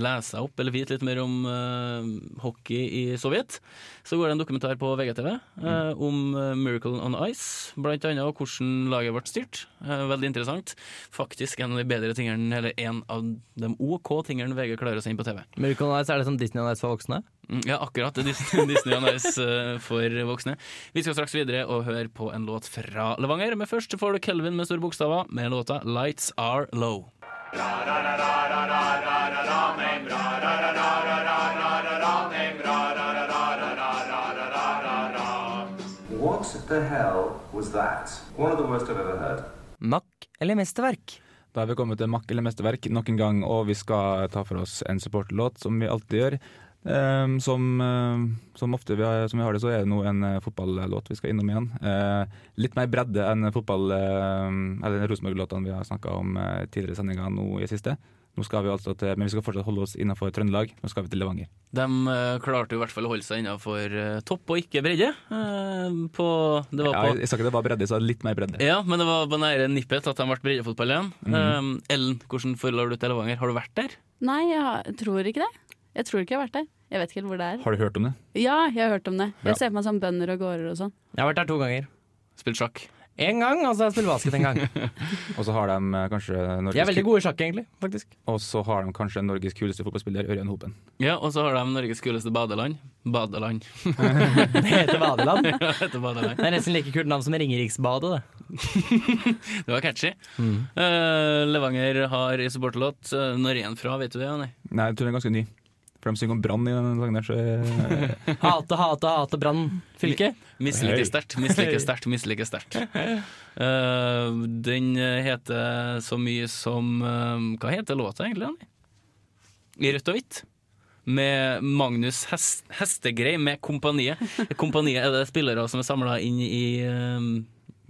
[SPEAKER 4] lese opp eller vite litt mer om eh, hockey i Sovjet, så går det en dokumentar på VGTV eh, om eh, Miracle on Ice, blant annet, og hvordan laget ble styrt. Eh, veldig interessant. Faktisk en av de bedre tingene, eller en av de OK tingene VG klarer å sende på TV.
[SPEAKER 8] Miracle on Ice, er det som Disney on Ice for voksne?
[SPEAKER 4] Mm, Ja, akkurat. det er Disney, Disney on Ice eh, for voksne. Vi skal straks videre og høre på en låt fra Levanger, men først får du Kelvin med store bokstaver med låta 'Lights Are Low'.
[SPEAKER 11] What the hell was that? One of the worst I've ever heard.
[SPEAKER 8] Mack eller mesterverk?
[SPEAKER 6] Da har vi kommet til Mack eller mesterverk nok en gang, og vi skal ta for oss en supporterlåt, som vi alltid gjør. Ehm, som, ehm, som ofte vi har, som vi har det, så er det nå en eh, fotballåt vi skal innom igjen. Eh, litt mer bredde enn fotball, eh, eller Rosenborg-låtene vi har snakka om eh, tidligere i sendinga nå i siste. Nå skal vi altså til, men vi skal fortsatt holde oss innenfor Trøndelag. Nå skal vi til Levanger.
[SPEAKER 4] De eh, klarte jo i hvert fall å holde seg innenfor eh, topp og ikke bredde. eh, På, det var
[SPEAKER 6] Ja,
[SPEAKER 4] på
[SPEAKER 6] jeg, jeg sa ikke det var bredde, jeg sa litt mer bredde.
[SPEAKER 4] Ja, men det var på nære nippet at de ble breddefotball igjen.
[SPEAKER 6] Mm.
[SPEAKER 4] Eh, Ellen, hvordan forhold har du til Levanger? Har du vært der?
[SPEAKER 5] Nei, jeg har- tror ikke det. Jeg tror ikke jeg har vært der. Jeg vet ikke helt hvor det er.
[SPEAKER 6] Har du hørt om det?
[SPEAKER 5] Ja, jeg har hørt om det.
[SPEAKER 6] Ja.
[SPEAKER 5] Jeg ser på meg som bønder og gårder og sånn.
[SPEAKER 8] Jeg har vært der to ganger.
[SPEAKER 4] Spilt sjakk?
[SPEAKER 8] Én gang, og så har jeg spilt basket en gang.
[SPEAKER 6] Og så har de eh, kanskje
[SPEAKER 8] De er
[SPEAKER 6] Norges,
[SPEAKER 8] veldig gode i sjakk, egentlig. faktisk.
[SPEAKER 6] og så har de kanskje Norges kuleste fotballspiller, Ørjan Hopen.
[SPEAKER 4] Ja, og så har de Norges kuleste badeland. Badeland.
[SPEAKER 8] Det heter Badeland.
[SPEAKER 4] Ja, det heter badeland.
[SPEAKER 8] Det er nesten like kult navn som Ringeriksbadet. det.
[SPEAKER 4] Det var catchy. Eh, Levanger har i supporterlåt eh, 'Når én fra', vet du det? Ja, nei.
[SPEAKER 6] Nei, jeg tror den er ganske ny. For de synger om brann i den sangen der, så eh,
[SPEAKER 8] Hate, hate, hate Brann fylke.
[SPEAKER 4] Misliker sterkt, misliker sterkt, misliker sterkt. Eh, den eh, heter så mye som eh, Hva heter låta egentlig? Anni? I rødt og hvitt. Med Magnus Hes- Hestegrei med Kompaniet. Kompaniet er det spillere som er samla inn i eh,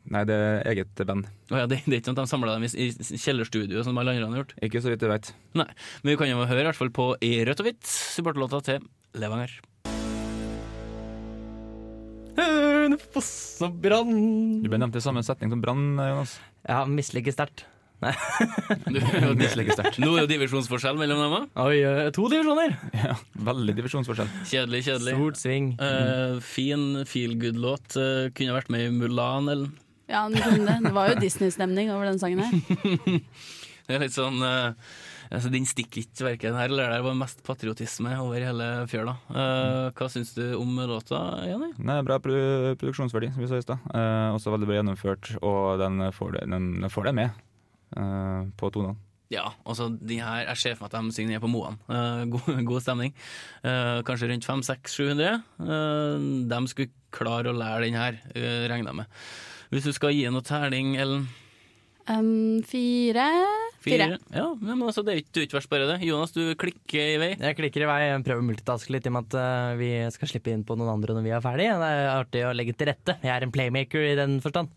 [SPEAKER 6] Nei, det er eget band.
[SPEAKER 4] Å ja, det, det er ikke sånn at de samla dem i, i kjellerstudio, som alle andre har gjort.
[SPEAKER 6] Ikke så vidt jeg vet.
[SPEAKER 4] Nei, Men vi kan jo høre i hvert fall på I rødt og hvitt, supporterlåta til Levanger.
[SPEAKER 8] Hønefoss og Brann.
[SPEAKER 6] Du ble nevnt i samme setning som brann, Jonas.
[SPEAKER 8] Ja, misliker sterkt.
[SPEAKER 4] Du, Nå
[SPEAKER 6] Misliker sterkt.
[SPEAKER 4] er jo divisjonsforskjell mellom dem òg.
[SPEAKER 8] Oi, eh, to divisjoner.
[SPEAKER 6] Veldig divisjonsforskjell.
[SPEAKER 4] Kjedelig, kjedelig.
[SPEAKER 8] Stort sving.
[SPEAKER 4] Eh, fin feel good-låt. eh, kunne vært med i Mulan, eller
[SPEAKER 5] Ja, den kunne det. det var jo Disney-stemning over den sangen her.
[SPEAKER 4] det er litt sånn eh, altså, Den stikker ikke verken her eller der. Det var mest patriotisme over hele fjøla. Eh, hva syns du om låta, Jenny?
[SPEAKER 6] Nei, Bra produ produksjonsverdi, som vi sa i stad. Eh, også veldig bra gjennomført, og den får det, den, den får det med eh, på tonene.
[SPEAKER 4] Ja, altså de her, jeg ser for meg at de signerer på Moan. Eh, god, god stemning. Eh, kanskje rundt 500-700. Eh, de skulle klare å lære den her, eh, regner jeg med. Hvis du skal gi noe terning, Ellen?
[SPEAKER 5] Um, fire Fire.
[SPEAKER 4] Ja, men altså, det er jo ikke- det er jo ikke verst, bare det. Jonas, du klikker i vei.
[SPEAKER 8] Jeg klikker i vei, jeg prøver å multitaske litt i og med at eh, vi skal slippe inn på noen andre når vi er ferdige. Det er artig å legge til rette. Jeg er en playmaker i den forstand.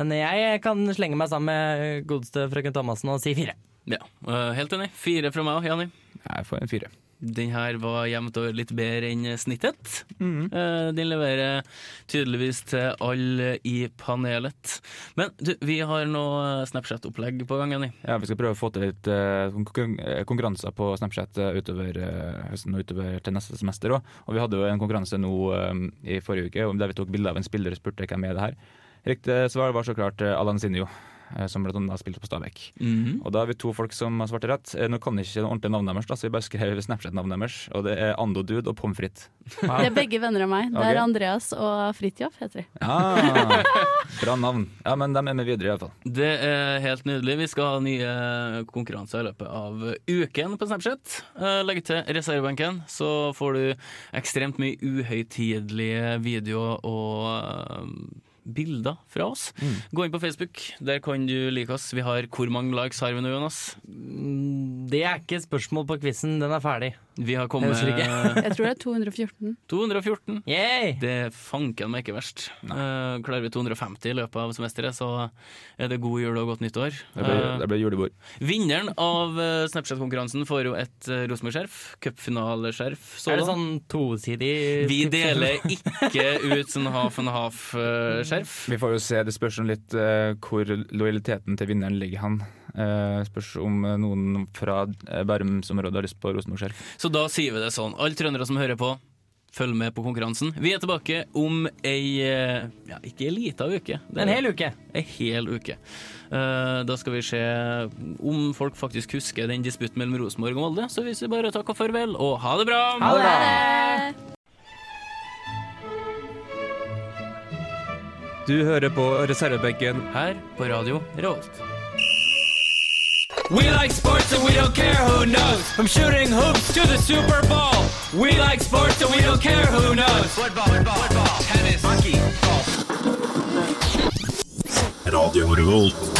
[SPEAKER 8] Men jeg kan slenge meg sammen med godeste frøken Thomassen og si fire.
[SPEAKER 4] Ja, eh, helt enig. Fire fra meg òg, Jani.
[SPEAKER 6] Jeg får en fire.
[SPEAKER 4] Den her var jevnt over litt bedre enn snittet. Eh, Den leverer tydeligvis til alle i panelet. Men du, vi har noe Snapchat-opplegg på gang, Jani.
[SPEAKER 6] Ja, Vi skal prøve å få til litt eh, konkur- eh, konkurranser på Snapchat eh, utover eh, høsten og utover til neste semester òg. Og vi hadde jo en konkurranse nå eh, i forrige uke om der vi tok bilde av en spiller og spurte hvem er det her. Riktig svar var så klart eh, Alan Sinjo, eh, som blant annet spilte på Stabæk. Og da har vi to folk som har svart rett. Eh, Nå kan jeg ikke det ordentlige navnet deres, da, så vi bare skrev Snapchat-navnet deres. Og det er Ando Dude og Pommes frites.
[SPEAKER 5] Det er begge venner av meg. Det er
[SPEAKER 6] Ok.
[SPEAKER 5] Andreas og Fridtjof, heter de.
[SPEAKER 6] Ah, bra navn. Ja, men de er med videre iallfall.
[SPEAKER 4] Det er helt nydelig. Vi skal ha nye konkurranser i løpet av uken på Snapchat. Eh, Legg til reservebenken, så får du ekstremt mye uhøytidelige videoer og eh, bilder fra oss. Gå inn på Facebook, der kan du like oss. Vi har Hvor mange likes har vi nå, Jonas?
[SPEAKER 8] Mm, Det er ikke et spørsmål på quizen, den er ferdig.
[SPEAKER 4] Vi har kommet
[SPEAKER 8] Jeg husker
[SPEAKER 5] Jeg tror det er 214.
[SPEAKER 4] 214.
[SPEAKER 8] Yay!
[SPEAKER 4] Det er fanken meg ikke verst. Eh, klarer vi 250 i løpet av semesteret, så er det god jul og godt nyttår.
[SPEAKER 6] Det blir,
[SPEAKER 4] Eh,
[SPEAKER 6] det blir julebord.
[SPEAKER 4] vinneren av eh, Snapchat-konkurransen får jo et eh, Rosenborg-skjerf. Cupfinaleskjerf.
[SPEAKER 8] Er det
[SPEAKER 4] sådan.
[SPEAKER 8] sånn tosidig
[SPEAKER 4] Vi deler ikke ut sånn half and half-skjerf.
[SPEAKER 6] Vi får jo se, det spørs jo litt eh, hvor lojaliteten til vinneren ligger han. Eh, spørs om eh, noen fra eh, Bærums-området har lyst på Rosenborg-skjerf.
[SPEAKER 4] Så da sier vi det sånn. Alle trøndere som hører på, følg med på konkurransen. Vi er tilbake om ei eh, ja, ikke ei lita uke. Det er-
[SPEAKER 8] En hel uke.
[SPEAKER 4] Ei hel uke. Eh, Da skal vi se om folk faktisk husker den disputten mellom Rosenborg og Molde. Så hvis vi bare takker farvel, og ha det bra!
[SPEAKER 8] Ha det bra!
[SPEAKER 6] Du hører på reservebenken
[SPEAKER 4] Her på Radio Revolt.
[SPEAKER 12] We like sports and we don't care who knows. From shooting hoops to the Super Bowl. We like sports and we don't care who knows. Football, football, football tennis, hockey, golf.
[SPEAKER 10] Radio Revolt.